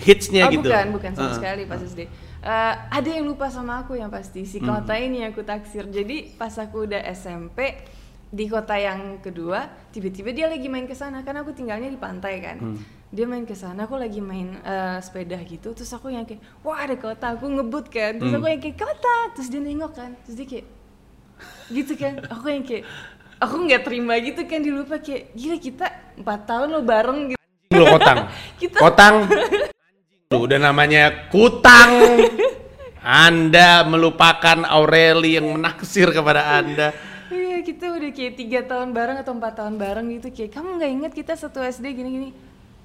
hitsnya
oh,
gitu.
bukan bukan sama
Heeh.
sekali pas SD Eh, ada yang lupa sama aku yang pasti si
Hmm.
kota ini aku taksir jadi pas aku udah SMP di kota yang kedua tiba-tiba dia lagi main ke sana karena aku tinggalnya di pantai kan
Hmm.
dia main ke sana aku lagi main eh, sepeda gitu terus aku yang kayak wah ada kota aku ngebut kan
Hmm.
terus aku yang kayak kota terus dia nengok kan terus dia kayak gitu kan aku yang kayak aku nggak terima gitu kan dilupa kayak gila kita empat tahun lo bareng gitu
Lu kotang.
Kita-
Kotang. Lu udah namanya kutang. Anda melupakan Aureli yang menaksir kepada Anda.
Iya, kayak kita udah kayak tiga tahun bareng atau empat tahun bareng gitu kayak kamu nggak inget kita satu SD gini gini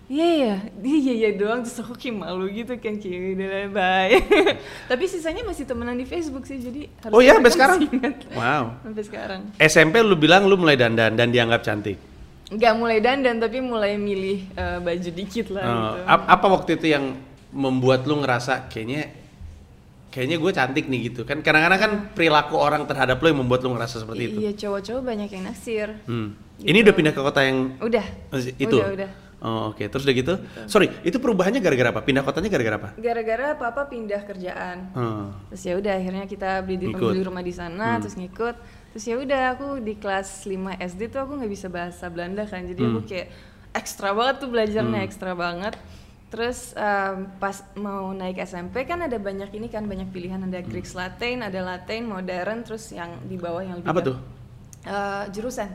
iya iya dia iya iya doang terus aku kayak malu gitu kan kayak udah lah, bye tapi sisanya masih temenan di Facebook sih jadi harusnya
Oh iya, sampai
mereka
sekarang?
masih ingat.
Wow.
sampai sekarang
SMP lu bilang lu mulai dandan dan dianggap cantik.
nggak mulai dandan tapi mulai milih eh, baju dikit lah
Eh,
gitu
ap- apa waktu itu yang membuat lu ngerasa kayaknya kayaknya gue cantik nih gitu kan kadang-kadang kan perilaku orang terhadap lu yang membuat lu ngerasa seperti itu.
iya cowok-cowok banyak yang naksir
Hmm. Ini udah pindah ke kota yang
udah
itu.
udah udah
Oh, oke. Terus udah gitu. Sorry, itu perubahannya gara-gara apa? Pindah kotanya gara-gara apa?
gara-gara papa pindah kerjaan
Hmm.
terus ya udah akhirnya kita beli di
Ngikut. Hmm.
beli rumah di sana terus ngikut terus ya udah aku di kelas 5 SD tuh aku nggak bisa bahasa Belanda kan jadi aku
Hmm.
kayak ekstra banget tuh belajarnya ekstra banget terus um, pas mau naik SMP kan ada banyak ini kan banyak pilihan ada
Hmm.
Greek Latin ada Latin modern terus yang di bawah yang lebih
Apa
jauh.
tuh?
Eh, jurusan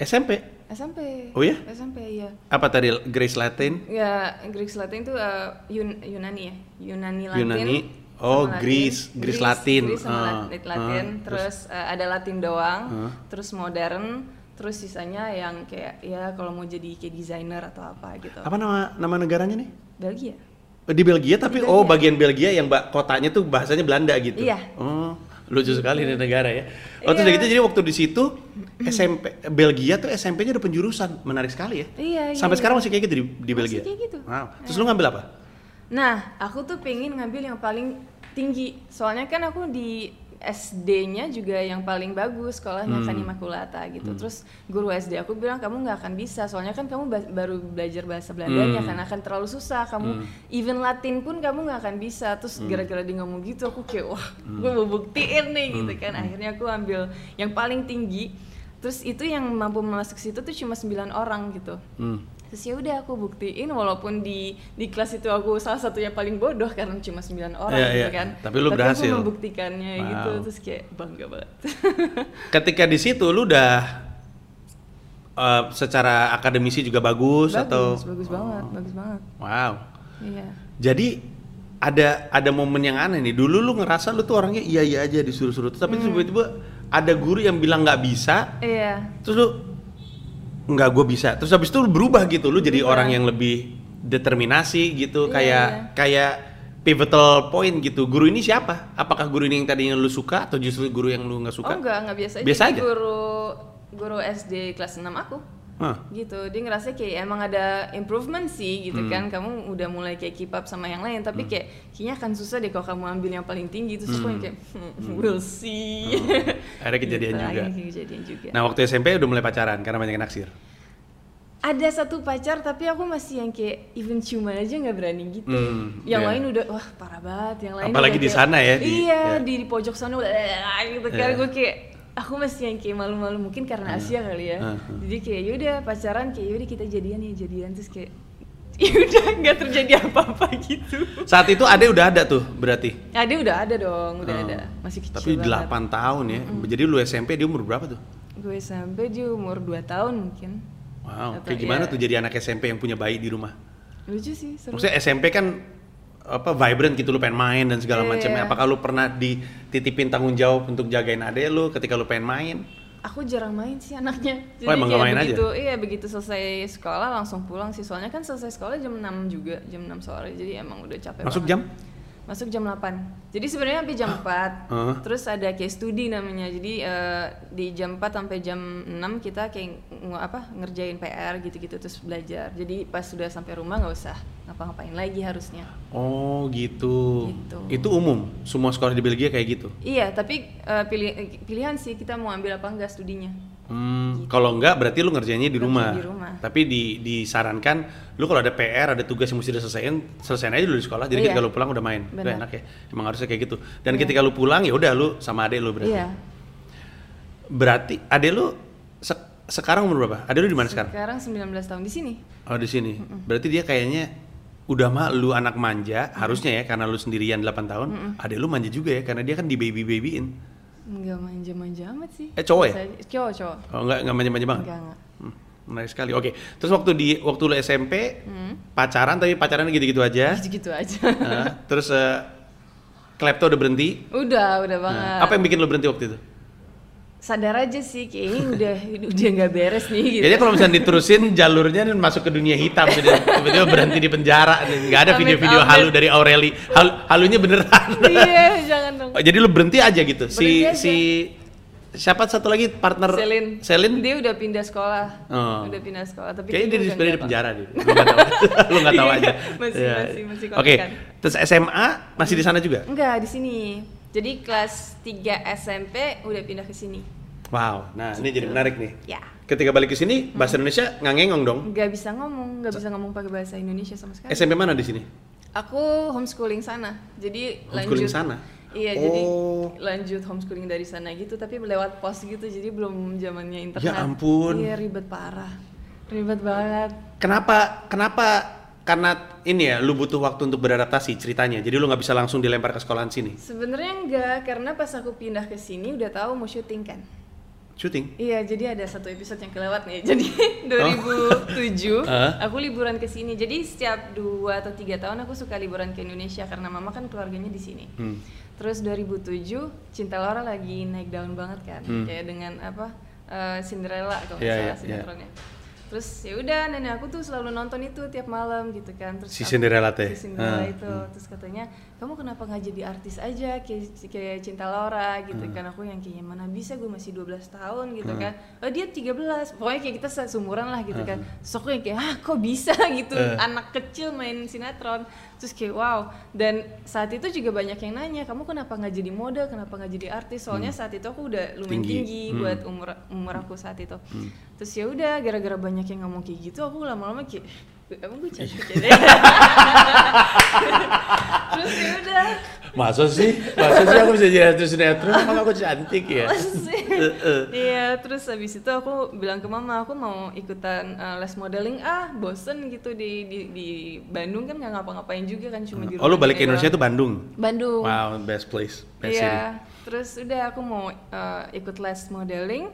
SMP.
SMP
Oh ya?
SMP iya
Apa tadi Grace Latin?
Ya, Greek Latin itu uh, Yun- Yunani ya, Yunani Latin.
Yunani.
sama
Oh,
Latin.
Greece. Greece Latin.
Greece sama
Ah,
Latin, Latin.
ah,
terus uh, ada Latin doang,
Ah.
terus modern, terus sisanya yang kayak ya kalau mau jadi kayak desainer atau apa gitu.
Apa nama nama negaranya nih?
Belgia.
Di Belgia tapi
Di
oh
Belgia.
bagian Belgia yang ba- kotanya tuh bahasanya Belanda gitu.
Iya.
Oh, lucu sekali nih negara ya. Oh,
Iya.
terus udah gitu jadi waktu di situ SMP Belgia tuh SMP-nya udah penjurusan. Menarik sekali ya.
Iya, iya, iya.
Sampai sekarang masih kayak gitu di, di
Masih
Belgia.
kayak gitu.
Wow. Terus lu ngambil apa?
Nah, aku tuh pengen ngambil yang paling tinggi. Soalnya kan aku di SD-nya juga yang paling bagus sekolahnya kan Immaculata gitu. Terus guru SD aku bilang kamu nggak akan bisa. Soalnya kan kamu ba- baru belajar bahasa Belandanya
Hmm.
kan akan terlalu susah. Kamu even Latin pun kamu nggak akan bisa. Terus gara-gara dia ngomong gitu aku kayak wah, gue mau buktiin nih gitu kan. Akhirnya aku ambil yang paling tinggi. Terus itu yang mampu masuk situ tuh cuma 9 orang gitu
Hmm.
terus ya udah aku buktiin walaupun di di kelas itu aku salah satunya paling bodoh karena cuma 9 orang
Iya,
gitu
iya.
kan
Tapi lu berhasil.
aku membuktikannya
Wow.
gitu terus kayak bangga banget
Ketika di situ lu udah eh, secara akademisi juga bagus, atau Oh.
bagus bagus banget bagus banget
Wow.
iya
Jadi ada ada momen yang aneh nih. Dulu lu ngerasa lu tuh orangnya iya iya aja disuruh-suruh, tapi
Hmm.
tiba-tiba ada guru yang bilang nggak bisa,
iya
terus lu nggak gue bisa. Terus habis itu lu berubah gitu, lu jadi
Berubah.
orang yang lebih determinasi gitu,
Iya,
kayak
iya.
kayak pivotal point gitu. Guru ini siapa? Apakah guru ini yang tadinya lu suka atau justru guru yang lu nggak
oh
suka?
enggak enggak biasa aja
Biasa
Dia
aja?
guru guru SD kelas 6 aku
Hah.
gitu dia ngerasa kayak emang ada improvement sih gitu
Hmm.
kan kamu udah mulai kayak keep up sama yang lain tapi kayak kayaknya akan susah deh kalau kamu ambil yang paling tinggi terus aku yang kayak "Hmm, we'll see
Oh. Akhirnya kejadian
Gitu,
juga.
akhirnya kejadian juga
Nah waktu SMP udah mulai pacaran karena banyak yang naksir.
ada satu pacar tapi aku masih yang kayak even ciuman aja nggak berani gitu
Hmm,
yang
iya.
lain udah wah parah banget yang lain
Apalagi
udah
di
kayak,
sana ya, di-
iya
ya.
di, di pojok sana udah "Eh," gitu kan
Iya.
gue kayak aku masih yang kayak malu-malu mungkin karena Asia kali ya
Hmm,
jadi kayak yaudah pacaran kayak yaudah kita jadian ya jadian terus kayak yaudah nggak terjadi apa-apa gitu
Saat itu Ade udah ada tuh berarti.
ada udah ada dong udah
Oh.
ada masih kecil
Tapi
banget.
8 tahun ya. Jadi lu SMP dia umur berapa tuh?
gue sampai di umur 2 tahun mungkin
Wow,
Atau
kayak gimana
ya.
tuh jadi anak SMP yang punya bayi di rumah?
lucu sih seru
Maksudnya SMP kan apa vibrant gitu lu pengen main dan segala
Iya,
macamnya.
iya.
Apakah lu pernah dititipin tanggung jawab untuk jagain adek lu ketika lu pengen main?
aku jarang main sih anaknya
Oh, emang nggak main aja?
begitu iya begitu selesai sekolah langsung pulang sih soalnya kan selesai sekolah jam 6 juga jam 6 sore jadi emang udah capek
Masuk
banget.
jam? Ah,
masuk jam 8 jadi sebenarnya sampai jam 4
Heeh.
terus ada kayak studi namanya jadi eh, di jam 4 sampai jam 6 kita kayak ng- apa ngerjain PR gitu-gitu terus belajar jadi pas sudah sampai rumah nggak usah ngapa-ngapain lagi harusnya
Oh, gitu.
Gitu.
Itu umum, semua sekolah di Belgia kayak gitu.
iya tapi eh, pilih- eh, pilihan sih kita mau ambil apa enggak studinya
Hmm, kalau enggak berarti lu ngerjainnya di
Ngerjain
rumah.
di rumah.
Tapi di, disarankan lu kalau ada PR, ada tugas yang mesti diselesaikan, selesaiin aja dulu di sekolah. Jadi
Iya.
ketika lu pulang udah main. Udah
Benar.
enak ya. Emang harusnya kayak gitu. Dan ketika lu pulang ya udah lu sama adek lu berarti.
iya
Berarti adek lu se- sekarang umur berapa? Adek lu di mana sekarang?
sekarang 19 tahun di sini
Oh, di sini. Berarti dia kayaknya udah mah lu anak manja harusnya ya karena lu sendirian 8 tahun. Adek lu manja juga ya karena dia kan di baby-babyin.
Enggak manja-manja amat sih.
Eh, cowok ya?
Biasa aja. Cowok, cowok.
Oh, enggak enggak manja-manja banget.
Enggak, enggak.
Hmm, menarik sekali. Oke, terus waktu di waktu lu SMP pacaran tapi pacaran gitu-gitu aja.
Gitu-gitu aja.
Nah, terus eh, klepto udah berhenti.
udah, udah banget.
Nah, apa yang bikin lu berhenti waktu itu?
sadar aja sih kayaknya udah udah nggak beres nih gitu.
Jadi kalau misalnya diterusin jalurnya nih masuk ke dunia hitam jadi tiba-tiba berhenti di penjara nih. nggak ada
Amit,
video-video
amit.
halu dari Aureli. Hal- halunya beneran.
iya jangan dong.
Oh, Jadi lu berhenti aja gitu.
Berhenti
Si
aja.
si siapa satu lagi partner
Selin.
Selin?
Dia udah pindah sekolah.
Oh.
Udah pindah sekolah tapi
Kayaknya dia
udah
sebenarnya di
nggak
penjara deh. Lu nggak tahu. Lu nggak tahu
Iya,
aja.
masih-
Iya.
masih- masih
Oke.
kontekan.
Terus SMA masih di sana juga.
apa. Enggak, di sini. Jadi kelas 3 SMP udah pindah ke sini.
Wow. Nah, ini jadi menarik nih.
Ya. Hmm.
Ketika balik ke sini bahasa Indonesia nggak ngengong dong.
Nggak bisa ngomong, nggak bisa ngomong pakai bahasa Indonesia sama sekali.
SMP mana di sini?
Aku homeschooling sana. Jadi
Homeschooling
lanjut
sana?
Iya,
Oh.
jadi lanjut homeschooling dari sana gitu tapi lewat pos gitu. Jadi belum zamannya internet.
Ya ampun.
Iya, ribet parah. Ribet banget.
Kenapa kenapa karena ini ya lu butuh waktu untuk beradaptasi ceritanya. Jadi lu nggak bisa langsung dilempar ke sekolahan sini.
Sebenarnya enggak, karena pas aku pindah ke sini udah tahu mau syuting kan.
Syuting.
Iya, jadi ada satu episode yang kelewat nih. Jadi 2007
Oh. Hah?
aku liburan ke sini. Jadi setiap dua atau tiga tahun aku suka liburan ke Indonesia karena mama kan keluarganya di sini.
Hmm.
Terus 2007 Cinta Laura lagi naik daun banget kan, kayak dengan apa eh, Cinderella kalau nggak
Hmm. Iya,
salah
iya,
sinetronnya. Terus ya udah nenek aku tuh selalu nonton itu tiap malam gitu kan. Terus
Si
aku-
Cinderella teh.
Si Cinderella
Ah,
itu terus katanya kamu kenapa nggak jadi artis aja kayak, kayak Cinta Laura gitu
Hmm.
kan aku yang kayaknya mana bisa gue masih 12 tahun gitu kan oh dia 13 pokoknya kayak kita sumuran lah gitu kan
hmm.
terus aku yang kayak ah kok bisa gitu
Eh.
anak kecil main sinetron terus kayak wow dan saat itu juga banyak yang nanya kamu kenapa nggak jadi model kenapa nggak jadi artis soalnya saat itu aku udah lumayan
Hmm. Tinggi.
tinggi,
Hmm.
buat umur umur aku saat itu terus ya udah gara-gara banyak yang ngomong kayak gitu aku lama-lama kayak emang gue cantik ya
Iya.
deh terus ya udah
Masa sih? Masa sih aku bisa jadi artis sinetron? Emang aku cantik ya? Eh, eh.
Iya, terus habis itu aku bilang ke mama, aku mau ikutan eh, les modeling ah, bosen gitu di di, di Bandung kan nggak ngapa-ngapain juga kan cuma di
Oh lu
rumah
balik ke
gini
Indonesia
doang.
tuh Bandung?
Bandung.
Wow, best place, best city.
Iya, terus udah aku mau eh, ikut les modeling,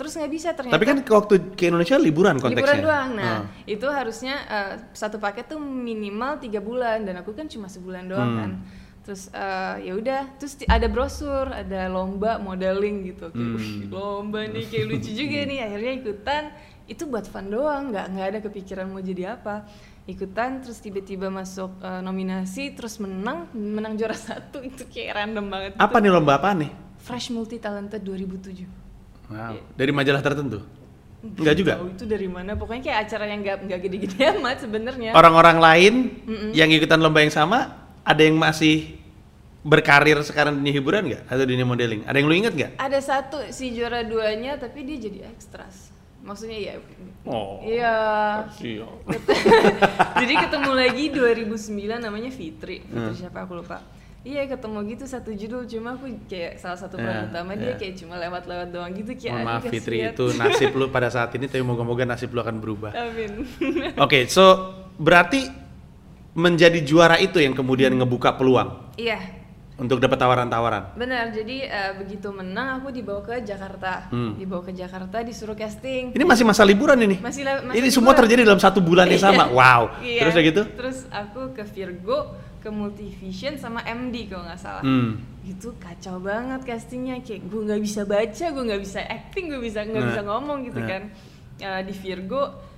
terus nggak bisa ternyata.
Tapi kan waktu ke Indonesia liburan konteksnya. Ah. Hmm.
liburan doang. Nah,
Heeh.
itu harusnya eh, satu paket tuh minimal tiga bulan dan aku kan cuma sebulan doang
Hmm.
kan. Terus eh, ya udah, terus ti- ada brosur, ada lomba modeling gitu. Kayak, "Wih,
Hmm.
lomba nih kayak lucu juga nih. Akhirnya ikutan. Itu buat fun doang, nggak nggak ada kepikiran mau jadi apa. Ikutan terus tiba-tiba masuk eh, nominasi, terus menang, menang juara satu itu kayak random banget. gitu.
Apa nih lomba apa nih?
Fresh Multi Talented 2007. Iya.
Wow. Dari majalah tertentu? Enggak juga.
Tahu itu dari mana? Pokoknya kayak acara yang nggak nggak gede-gede amat sebenarnya.
Orang-orang lain yang ikutan lomba yang sama, ada yang masih berkarir sekarang di dunia hiburan nggak? Atau dunia modeling? Ada yang lu inget nggak?
Ada satu si juara duanya tapi dia jadi ekstras. Maksudnya ya.
Oh.
Iya. jadi ketemu lagi 2009 namanya Fitri.
Hmm.
Fitri siapa aku lupa. Iya ketemu gitu satu judul cuma aku kayak salah satu peran
Ya,
utama
ya.
dia kayak cuma lewat-lewat doang gitu kayak
Mohon
aduh,
maaf Fitri,
kasihan.
itu nah. nasib lu pada saat ini, tapi moga-moga nasib lu akan berubah.
Amin.
Oke, so berarti menjadi juara itu yang kemudian ngebuka peluang
Iya,
untuk dapat tawaran-tawaran.
Benar, jadi eh, begitu menang aku dibawa ke Jakarta, dibawa ke Jakarta disuruh casting.
Hmm. Ini masih masa liburan ini.
Masih la- masa
ini semua
liburan.
terjadi dalam satu bulan yang sama. Wow.
Iya.
Terus udah gitu?
Terus aku ke Virgo, ke Multivision sama MD kalau nggak salah.
Hmm.
Itu kacau banget castingnya, kayak gue nggak bisa baca, gue nggak bisa acting, gue bisa nggak
Nah.
bisa ngomong gitu
Nah.
kan. Eh, di Virgo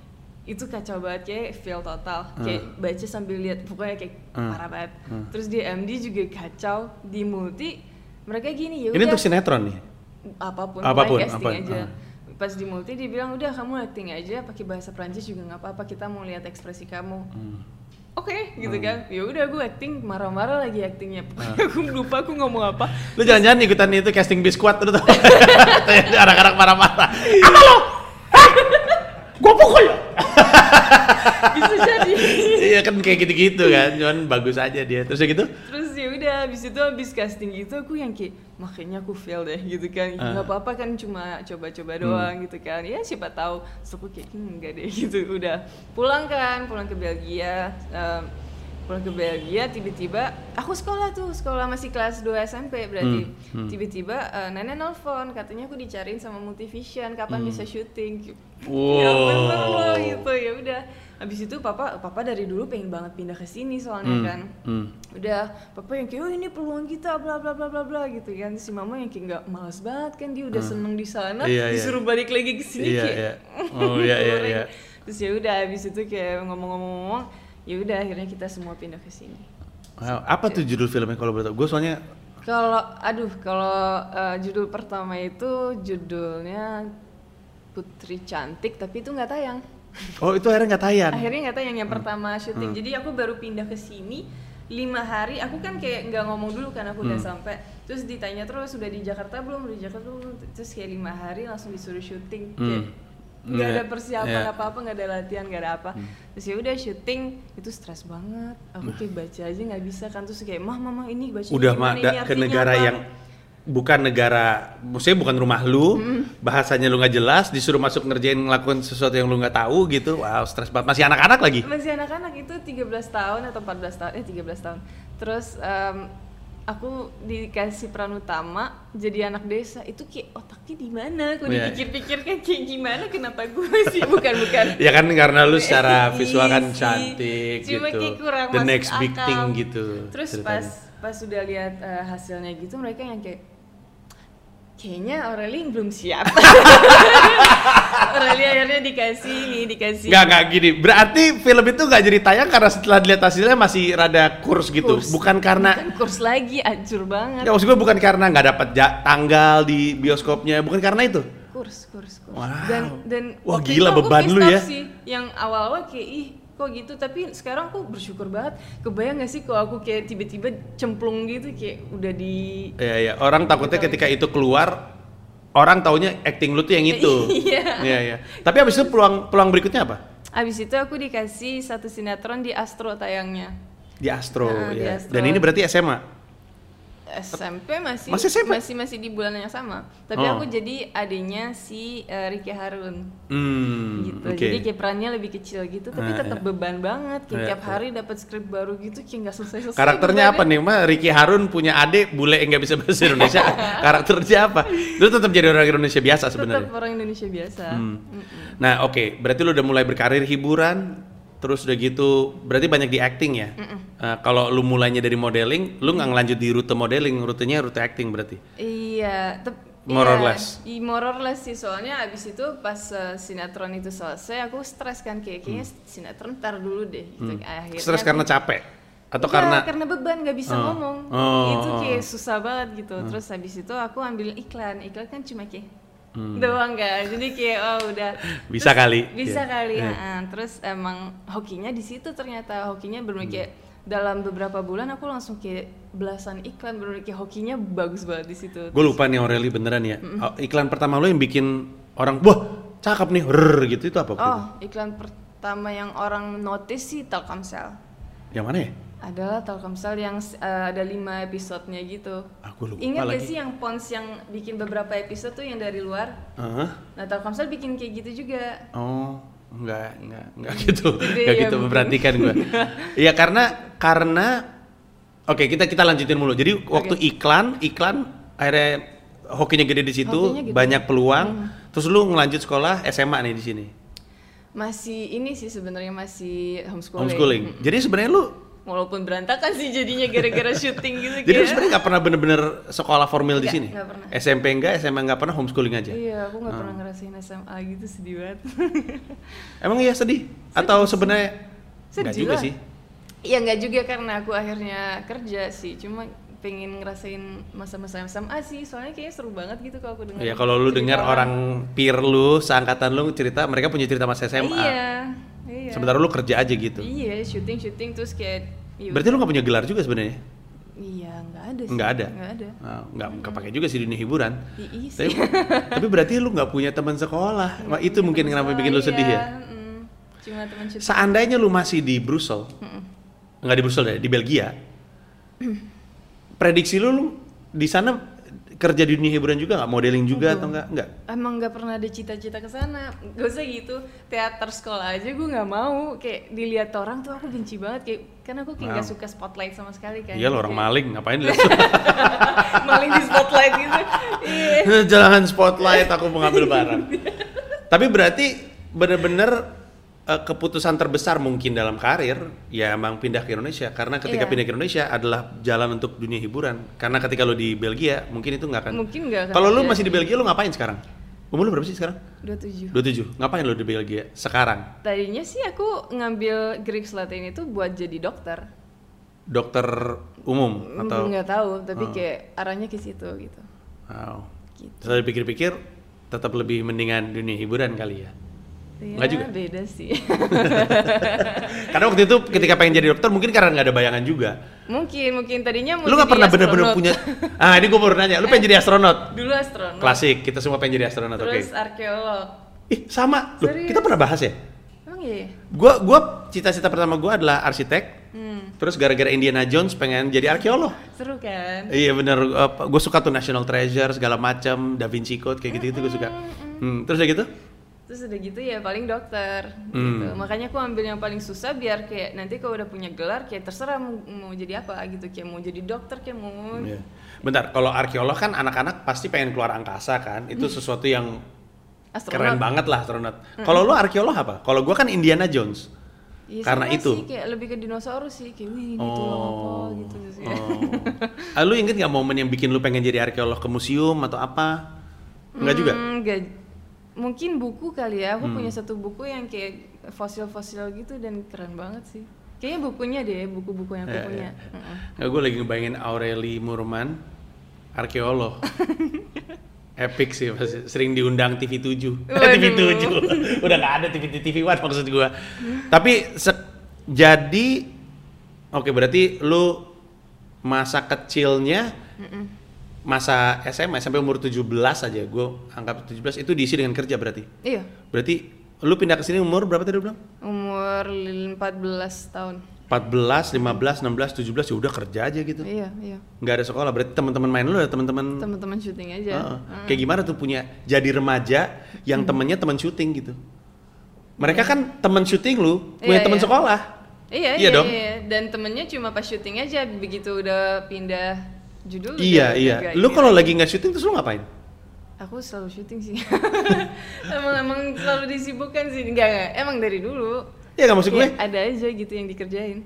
itu kacau banget kayak feel total kayak baca sambil lihat pokoknya kayak
Hmm.
parah banget terus di MD juga kacau di multi mereka gini ya
Ini
udah
untuk sinetron nih.
apapun,
Apapun,
apapun casting
apapun,
aja
ah.
pas di multi dia bilang udah kamu acting aja pakai bahasa Prancis juga nggak apa-apa kita mau lihat ekspresi kamu
Hmm.
oke gitu kan ya udah gue acting marah-marah lagi actingnya
Ah.
aku lupa aku ngomong apa
Lu jangan-jangan ikutan itu casting biskuat lu tau. Tanya anak-anak marah-marah. Apa lu? Hah? Gua pukul.
bisa jadi
Iya kan kayak gitu-gitu kan, cuman bagus aja dia. Terus udah gitu?
terus ya udah habis itu habis casting gitu aku yang kayak makanya aku fail deh gitu kan
Ah. Hmm.
nggak apa-apa kan cuma coba-coba doang gitu kan ya siapa tahu Terus aku kayak "Hmm, nggak deh gitu udah pulang kan pulang ke Belgia Em, pulang ke Belgia tiba-tiba aku sekolah tuh sekolah masih kelas 2 SMP berarti
Hmm, hmm.
tiba-tiba eh, nenek nelfon katanya aku Gitu. dicariin sama Multivision kapan bisa syuting
Hmm. Wow.
ya bener loh gitu ya udah Abis itu papa papa dari dulu pengen banget pindah ke sini soalnya kan.
hmm.
Udah papa yang kayak oh ini peluang kita bla bla bla bla bla gitu kan. Si mama yang kayak nggak malas banget kan dia udah seneng di sana
Hmm. Iya, iya.
disuruh balik lagi ke sini
Iya,
kayak.
iya. Oh, iya, iya,
goreng.
iya.
Terus ya udah abis itu kayak ngomong-ngomong ya udah akhirnya kita semua pindah ke sini.
Wow, apa tuh judul filmnya kalau boleh tahu? Gue soalnya
Kalau aduh kalau eh, judul pertama itu judulnya Putri Cantik tapi itu nggak tayang.
Oh, itu akhirnya nggak tayang.
Akhirnya nggak tayang yang
Hmm.
pertama syuting. Jadi aku baru pindah ke sini lima hari. Aku kan kayak nggak ngomong dulu kan aku
Hmm.
udah sampai. Terus ditanya terus sudah di Jakarta belum? Udah Di Jakarta belum? Terus kayak lima hari langsung disuruh syuting. Kayak
Hmm.
nggak ada
Iya,
persiapan
iya.
apa-apa, nggak ada latihan, nggak ada apa.
Hmm.
Terus ya udah syuting itu stres banget. Aku kayak baca aja nggak bisa kan terus kayak mah mama ini baca
Udah mah da- ke negara yang bukan negara, maksudnya bukan rumah lu,
Hmm.
bahasanya lu nggak jelas, disuruh masuk ngerjain ngelakuin sesuatu yang lu nggak tahu gitu. Wow, stres banget. Masih anak-anak lagi.
masih anak-anak itu 13 tahun atau 14 tahun eh 13 tahun terus em, aku dikasih peran utama jadi anak desa itu kayak otaknya di mana aku
Iya.
dipikir-pikir kan kayak gimana kenapa gue sih bukan bukan
Ya kan karena lu secara visual kan
Isi.
cantik
Iya, Cuma
gitu.
kayak kurang
The
masuk
next big
akal.
thing gitu.
terus pas
ceritanya.
pas sudah lihat eh, hasilnya gitu mereka yang kayak kayaknya Aureli belum siap Aureli akhirnya dikasih nih dikasih
Nggak, nggak gini. Berarti film itu nggak jadi tayang karena setelah dilihat hasilnya masih rada kurs gitu.
Kurs.
Bukan karena
Bukan kurs lagi ancur banget
Nggak, maksud gue bukan karena nggak dapat ja- tanggal di bioskopnya, bukan karena itu.
kurs kurs kurs
Wow.
dan dan
Wah,
waktu itu
gila
aku
beban
pissed
lu
off
ya.
sih. yang awal-awal kayak ih kok gitu tapi sekarang aku bersyukur banget kebayang gak sih kalau aku kayak tiba-tiba cemplung gitu kayak udah di
Iya iya, orang takutnya ketika itu keluar orang taunya acting lu tuh yang itu.
Iya.
Iya iya. Tapi abis itu peluang peluang berikutnya apa?
abis itu aku dikasih satu sinetron di Astro tayangnya
Di Astro,
Ah, di
ya.
Astro.
Dan ini berarti SMA.
SMP masih
Masih SMP?
masih masih di bulan yang sama tapi
Oh.
aku jadi adiknya si eh, Ricky Harun
Hmm,
gitu.
oke.
Jadi kayak perannya lebih kecil gitu, tapi
Ah,
tetap beban banget. Kayak
Iya,
tiap hari dapat skrip baru gitu, kayak nggak selesai-selesai.
Karakternya apa
bebannya.
nih, Ma? Ricky Harun punya adik bule yang nggak bisa bahasa Indonesia. Karakternya apa? Lu tetap jadi orang Indonesia biasa
Tetap
sebenarnya.
orang Indonesia biasa.
Nah, oke, berarti lu udah mulai berkarir hiburan, terus udah gitu, berarti banyak di acting ya. Eh, kalau lu mulainya dari modeling, lu nggak ngelanjut di rute modeling, rutenya rute acting berarti.
Iya, tep-
More
iya,
or less.
i- more or less sih soalnya abis itu pas eh, sinetron itu selesai aku stres kan kayak kayaknya sinetron ntar dulu deh gitu akhirnya
Hmm. Stres
aku-
karena capek atau
Iya,
karena
beban nggak bisa
Oh.
ngomong
Oh, Hmm.
itu
oh,
kayak susah banget gitu terus habis itu aku ambil iklan iklan kan cuma kayak doang kan jadi kayak oh udah
Hmm. Bisa kali.
bisa
Iya.
kali
Iya.
heeh. terus emang hokinya di situ ternyata hokinya benar
Hmm.
kayak dalam beberapa bulan aku langsung kayak belasan iklan benar kayak hokinya bagus banget di situ
gue lupa nih Aureli beneran ya. Oh, Iklan pertama lu yang bikin orang wah cakep nih, rrrr gitu itu apa? waktu itu?
oh iklan pertama yang orang notice sih Telkomsel
Yang mana ya?
adalah Telkomsel yang eh, ada lima episodenya gitu
Aku lupa
Ingat gak
lagi.
sih yang Pons yang bikin beberapa episode tuh yang dari luar?
Hah?
Nah Telkomsel bikin kayak gitu juga
Oh, enggak, enggak, enggak gitu.
Gitu
Enggak
ya,
gitu
mungkin.
memperhatikan gue. Iya, karena karena Oke, kita kita lanjutin mulu. Jadi waktu iklan, iklan akhirnya hokinya gede di situ,
Hokinya gede. Hmm.
banyak peluang. Terus lu ngelanjut sekolah SMA nih di sini.
Masih ini sih sebenarnya masih homeschooling, Hmm.
Homeschooling. Jadi sebenarnya lu
Walaupun berantakan sih jadinya gara-gara syuting gitu
jadi lu
kayak.
sebenarnya nggak pernah bener-bener sekolah formal di
Nggak,
sini.
nggak pernah.
SMP enggak, SMA enggak pernah homeschooling aja.
Iya, aku
Ah.
nggak pernah ngerasain SMA gitu sedih banget.
Emang iya sedih? Atau sebenarnya
Sedih
enggak juga
lah.
sih?
Iya nggak juga karena aku akhirnya kerja sih, cuma pengen ngerasain masa-masa SMA sih, soalnya kayaknya seru banget gitu kalau aku dengar.
Ya kalau lu
cerita
dengar orang peer lu, seangkatan lu cerita mereka punya cerita masa SMA.
Iya, iya.
Sementara lu kerja aja gitu.
Iya, syuting syuting terus kayak. iya,
Berarti lu nggak punya gelar juga sebenarnya?
Iya, nggak ada sih.
Nggak ada.
Nggak ada.
Nah, nggak kepake juga sih di dunia hiburan.
I- Iya sih.
Tapi, tapi berarti lu nggak punya teman sekolah. Wah,
Iya,
itu mungkin kenapa bikin lu sedih ya.
mm. Cuma teman syuting.
Seandainya lu masih di Brussel, nggak di Brussel ya, di Belgia. prediksi lu, lu di sana kerja di dunia hiburan juga nggak modeling juga atau nggak? Nggak.
Emang nggak pernah ada cita-cita ke sana. Gak usah gitu. Teater sekolah aja gue nggak mau. Kayak dilihat orang tuh aku benci banget kayak karena aku kayak nggak
Wow.
suka spotlight sama sekali kan.
Iya lo orang
Kayak
maling, ngapain lu?
maling di spotlight gitu. Iya.
Jangan spotlight, aku mengambil barang. Tapi berarti bener-bener eh, keputusan terbesar mungkin dalam karir ya emang pindah ke Indonesia karena ketika
Iya.
pindah ke Indonesia adalah jalan untuk dunia hiburan karena ketika lo di Belgia mungkin itu nggak akan
Mungkin nggak akan
kalau lo
terjadi.
masih di Belgia lo ngapain sekarang umur lo berapa sih sekarang
27.
27 ngapain lo di Belgia sekarang
Tadinya sih aku ngambil Greek Latin itu buat jadi dokter.
dokter umum atau
Mm,
Ah.
nggak tahu, tapi kayak arahnya ke situ gitu.
wow.
Gitu.
Setelah dipikir-pikir tetap lebih mendingan dunia hiburan kali ya Nggak juga?
beda sih.
karena waktu itu ketika pengen jadi dokter mungkin karena nggak ada bayangan juga
mungkin mungkin tadinya mau
lu nggak
jadi Eh.
pernah bener-bener
astronot.
punya ah ini gue baru nanya lu pengen jadi astronot
Dulu astronot.
klasik kita semua pengen jadi astronot oke
Terus arkeolog.
ih sama Loh,
Serius?
kita pernah bahas ya
Emang iya? ya?
gua gua cita-cita pertama gua adalah arsitek
Hmm,
terus gara-gara Indiana Jones pengen jadi arkeolog
seru kan?
Iya bener, gue suka tuh National Treasure segala macam, Da Vinci Code kayak gitu-gitu gue suka. Hmm, terus udah gitu?
Terus udah gitu ya paling dokter
Hmm.
gitu. Makanya aku ambil yang paling susah biar kayak nanti kalau udah punya gelar kayak terserah mau, mau jadi apa gitu. Kayak mau jadi dokter kayak mau
Iya. Bentar, kalau arkeolog kan anak-anak pasti pengen keluar angkasa kan,
Mm.
itu sesuatu yang keren
astronot.
banget lah astronot. Kalau lu arkeolog apa? Kalau gua kan Indiana Jones.
Iya,
Karena
sama
itu.
sih, kayak lebih ke dinosaurus sih kayak wih ini tulang apa
Oh.
gitu sih.
oh. Ah, lu inget nggak momen yang bikin lu pengen jadi arkeolog ke museum atau apa? Enggak juga. Hmm.
Hmm, nggak. Mungkin buku kali ya. Aku punya satu buku yang kayak fosil-fosil gitu dan keren banget sih. Kayaknya bukunya deh, buku-buku yang aku
Iya,
punya.
iya.
Mm-mm.
Nggak, gue lagi ngebayangin Aureli Murman, arkeolog. Epic sih, pasti. sering diundang TV 7.
Waduh.
TV 7. Udah nggak ada TV TV One maksud gua. Tapi se- jadi oke berarti lu masa kecilnya masa SMA sampai umur 17 aja gue anggap 17 itu diisi dengan kerja berarti.
Iya,
Berarti lu pindah ke sini umur berapa tadi lu bilang?
umur 14 tahun.
14, 15, 16, 17 ya udah kerja aja gitu.
Iya, iya.
nggak ada sekolah berarti teman-teman main lu ada teman-teman
Teman-teman syuting aja. Mm.
Heeh. kayak gimana tuh punya jadi remaja yang
Hmm.
temennya teman syuting gitu mereka kan teman syuting lu punya
Iya,
teman
iya.
sekolah
Iya,
Iya
iya,
dong.
iya. Dan temennya cuma pas syuting aja begitu udah pindah judul.
iya
udah
iya
beda
lu
gitu.
kalau lagi nggak syuting terus lu ngapain
Aku selalu syuting sih. emang emang selalu disibukkan sih. Enggak, enggak. Emang dari dulu.
ya nggak maksud gue
Kayak ada aja gitu yang dikerjain.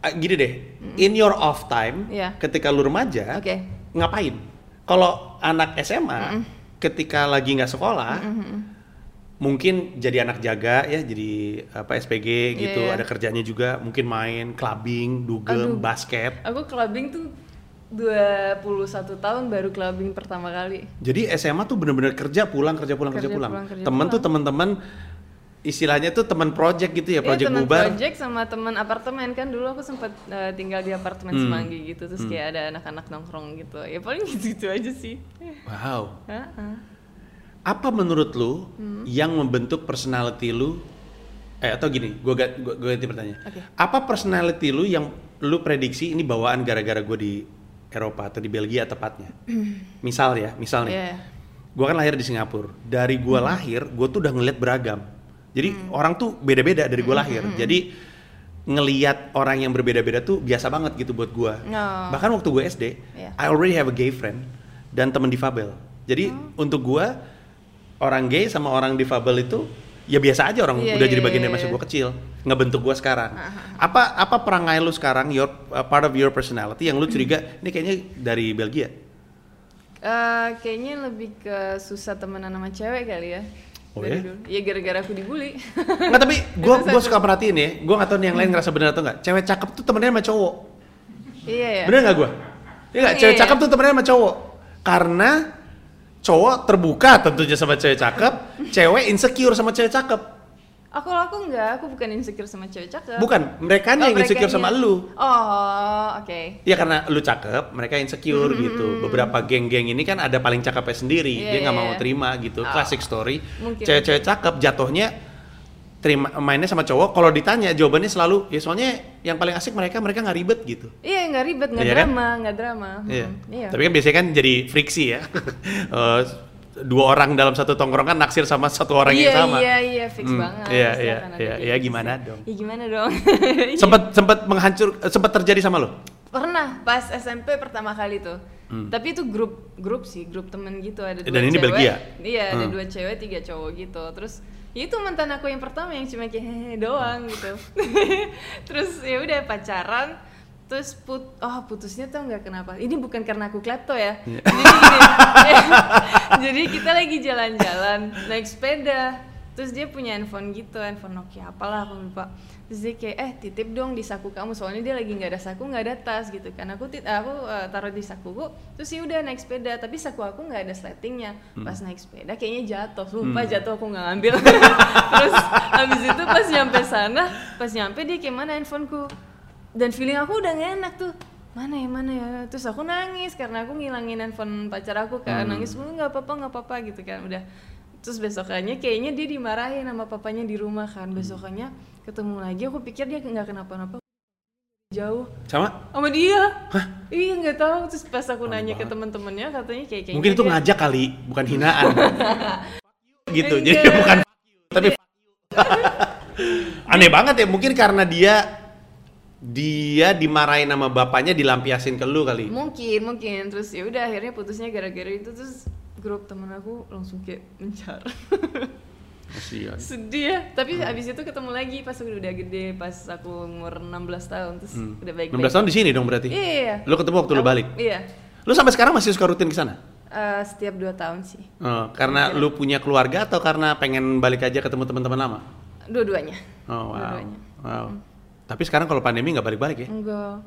ah, gini deh in your off time
Hmm. Iya.
ketika lu remaja
Oke.
ngapain kalau anak SMA ketika lagi nggak sekolah mungkin jadi anak jaga ya jadi apa SPG gitu
Iya, iya.
ada kerjanya juga mungkin main clubbing
Aduh.
dugem basket
Aku clubbing tuh 21 tahun baru clubbing pertama kali.
Jadi SMA tuh bener-bener kerja pulang kerja pulang kerja,
Kerja
pulang.
pulang, kerja
temen
pulang.
tuh teman-teman istilahnya tuh teman project gitu
Iya,
ya, project
teman
bubar.
project sama teman apartemen kan dulu aku sempat eh, tinggal di apartemen
Hmm.
Semanggi gitu terus kayak ada anak-anak nongkrong gitu. Ya paling gitu-gitu aja sih.
Wow.
Heeh.
Apa menurut lu
Hmm.
yang membentuk personality lu? Eh atau gini, gua, ga- gua, gua ganti pertanyaan.
Oke.
Apa personality lu yang lu prediksi ini bawaan gara-gara gue di Eropa atau di Belgia tepatnya? misal ya, misal nih.
Iya. Hmm.
Gua kan lahir di Singapura. Dari gua lahir, gua tuh udah ngeliat beragam. Jadi orang tuh beda-beda dari
Hmm,
gua lahir. Jadi ngeliat orang yang berbeda-beda tuh biasa banget gitu buat gua.
Oh.
Bahkan waktu gue SD,
Iya.
I already have a gay friend dan temen difabel. Jadi
Oh.
untuk gua orang gay sama orang difabel itu ya biasa aja orang
Iya,
udah
iya,
jadi
iya,
bagian dari masa
iya. Ah,
gua kecil, ngebentuk gua sekarang. Apa apa perangai lu sekarang your uh, part of your personality yang lu curiga ini kayaknya dari Belgia?
Eh, kayaknya lebih ke susah temenan sama cewek kali ya.
Oh
Dari
ya?
dulu. Iya gara-gara aku dibully.
Nggak tapi gue gua suka perhatiin ya, gue nggak tahu nih yang lain ngerasa bener atau nggak. Cewek cakep tuh temennya sama cowok,
iya ya.
bener nggak gue? Iya nggak,
Iya,
cewek
iya.
cakep tuh temennya sama cowok. Karena cowok terbuka tentunya sama cewek cakep, cewek insecure sama cewek cakep.
Aku kalau aku enggak, aku bukan insecure sama cewek cakep.
Bukan, mereka
Oh,
yang insecure
merekanya.
sama lu.
Oh, oke.
Ya karena lu cakep, mereka insecure gitu. Beberapa geng-geng ini kan ada paling cakepnya sendiri,
Iya,
dia nggak
iya,
mau
iya.
terima gitu.
Oh.
Classic story.
Mungkin.
Cewek-cewek cakep jatuhnya terima mainnya sama cowok. Kalau ditanya jawabannya selalu ya soalnya yang paling asik mereka mereka nggak ribet gitu.
Iya, nggak ribet, nggak
Iya kan?
drama, nggak drama. Hmm,
Iya.
Iya.
Tapi kan biasanya kan jadi friksi ya. Eh, dua orang dalam satu tongkrongan kan naksir sama satu orang
iya,
yang sama.
Iya, iya, fix
Hmm,
banget.
iya,
Pasti
iya,
akan ada
iya,
kayak
iya,
gitu
gimana
sih.
dong?
Ya gimana dong?
Sempet sempet menghancur eh, sempet terjadi sama lo?
Pernah pas SMP pertama kali tuh. Tapi itu grup grup sih, grup temen gitu ada
Hmm.
dua
Dan ini
cewek.
Belgia?
Iya, ada
Hmm.
dua cewek, tiga cowok gitu. Terus ya itu mantan aku yang pertama yang cuma kayak hehe
Hmm.
doang gitu terus ya udah pacaran terus put oh putusnya tau nggak kenapa ini bukan karena aku klepto ya
Iya.
jadi gini, jadi kita lagi jalan-jalan naik sepeda terus dia punya handphone gitu handphone Nokia apalah aku lupa terus dia kayak eh titip dong di saku kamu soalnya dia lagi nggak ada saku nggak ada tas gitu kan aku tit aku eh, taruh di sakuku terus ya udah naik sepeda tapi saku aku nggak ada sletingnya pas naik sepeda kayaknya jatuh lupa jatuh aku nggak ngambil terus habis itu pas nyampe sana pas nyampe dia kayak mana handphoneku dan feeling aku udah gak enak tuh mana ya mana ya terus aku nangis karena aku ngilangin handphone pacar aku
Hmm.
kan nangis mulu nggak apa-apa nggak apa-apa gitu kan udah terus besokannya kayaknya dia dimarahin sama papanya di rumah kan
Hmm.
besokannya ketemu lagi aku pikir dia nggak kenapa-napa jauh
Sama?
sama dia iya nggak tahu terus pas aku nanya ke teman-temannya katanya kayak kayaknya
Mungkin itu
dia-
ngajak kali, bukan hinaan. gitu. Jadi
Enggak.
bukan fuck you, tapi fuck you. Aneh banget ya, mungkin karena dia dia dimarahin sama bapaknya dilampiasin ke lu kali.
mungkin mungkin terus ya udah akhirnya putusnya gara-gara itu terus grup temen aku langsung kayak mencar
Kasihan.
sedih ya tapi abis itu ketemu lagi pas aku udah gede pas aku umur 16 tahun terus udah baik
16 Hmm. tahun di sini dong berarti.
iya iya
Lu ketemu waktu lu
Aku-
balik.
iya
Lu sampai sekarang masih suka rutin ke sana?
Eh, setiap 2 tahun sih
Oh, karena lu punya keluarga atau karena pengen balik aja ketemu teman-teman lama?
dua-duanya
Oh, wow.
Dua-duanya.
Wow. Tapi sekarang kalau pandemi nggak balik-balik ya?
enggak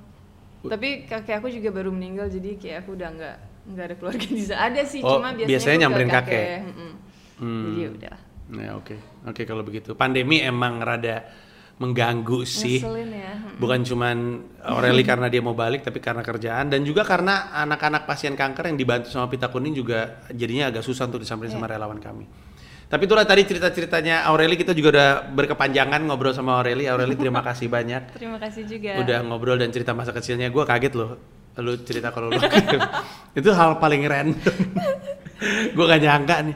tapi kakek aku juga baru meninggal jadi kayak aku udah nggak nggak ada keluarga di sana ada sih
Oh,
cuma biasanya, aku
biasanya
ke
nyamperin kakek.
mm-mm.
Hmm.
jadi ya udah
Ya, oke. Oke, kalau begitu. Pandemi emang rada mengganggu sih.
ngeselin ya mm.
Bukan cuman Aureli karena dia mau balik tapi karena kerjaan dan juga karena anak-anak pasien kanker yang dibantu sama Pita Kuning juga jadinya agak susah untuk disamperin sama relawan kami. Tapi itulah tadi cerita-ceritanya Aureli kita juga udah berkepanjangan ngobrol sama Aureli. Aureli terima kasih banyak.
terima kasih juga
udah ngobrol dan cerita masa kecilnya gue kaget loh lu cerita kalau lu itu hal paling random gue gak nyangka nih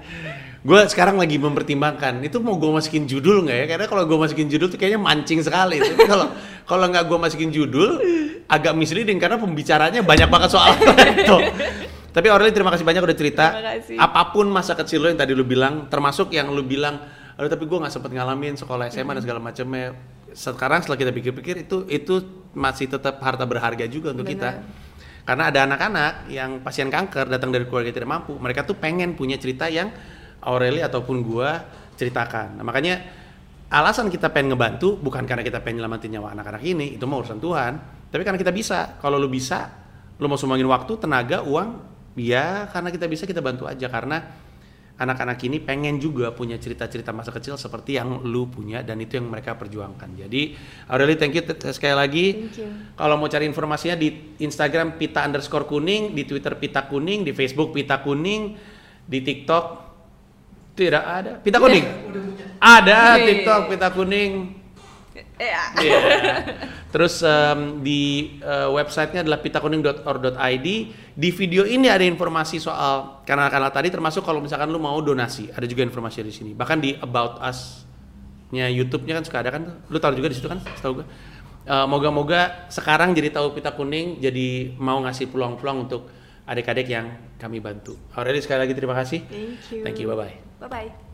gue sekarang lagi mempertimbangkan itu mau gue masukin judul nggak ya karena kalau gue masukin judul tuh kayaknya mancing sekali tapi kalau kalau nggak gue masukin judul agak misleading karena pembicaranya banyak banget soal itu tapi Aureli terima kasih banyak udah cerita
Terima kasih.
apapun masa kecil lo yang tadi lu bilang termasuk yang lu bilang aduh tapi gue nggak sempet ngalamin sekolah SMA dan segala macamnya sekarang setelah kita pikir-pikir itu itu masih tetap harta berharga juga untuk
Benar.
kita kan? karena ada anak-anak yang pasien kanker datang dari keluarga tidak mampu mereka tuh pengen punya cerita yang Aureli ataupun gua ceritakan nah, makanya alasan kita pengen ngebantu bukan karena kita pengen nyelamatin nyawa anak-anak ini itu mah urusan Tuhan tapi karena kita bisa kalau lu bisa lu mau sumbangin waktu tenaga uang ya karena kita bisa kita bantu aja karena anak-anak ini pengen juga punya cerita-cerita masa kecil seperti yang lu punya dan itu yang mereka perjuangkan. Jadi Aureli thank you te- sekali lagi.
Thank you.
Kalau mau cari informasinya di Instagram pita underscore kuning, di Twitter pita kuning, di Facebook pita kuning, di TikTok tidak ada pita kuning. Ada
Oke.
TikTok pita kuning.
Eh, ah.
Iya. Terus em, di eh, websitenya adalah pitakuning.or.id. Di video ini ada informasi soal kanal-kanal tadi, termasuk kalau misalkan lu mau donasi, ada juga informasi di sini. Bahkan di About Us-nya YouTube-nya kan suka ada kan, tuh. lu taruh juga di situ kan, setahu gue. Eh, Moga-moga sekarang jadi tahu pita kuning, jadi mau ngasih peluang-peluang untuk adik-adik yang kami bantu. Aureli sekali lagi terima kasih.
thank you
Thank you, bye-bye.
bye bye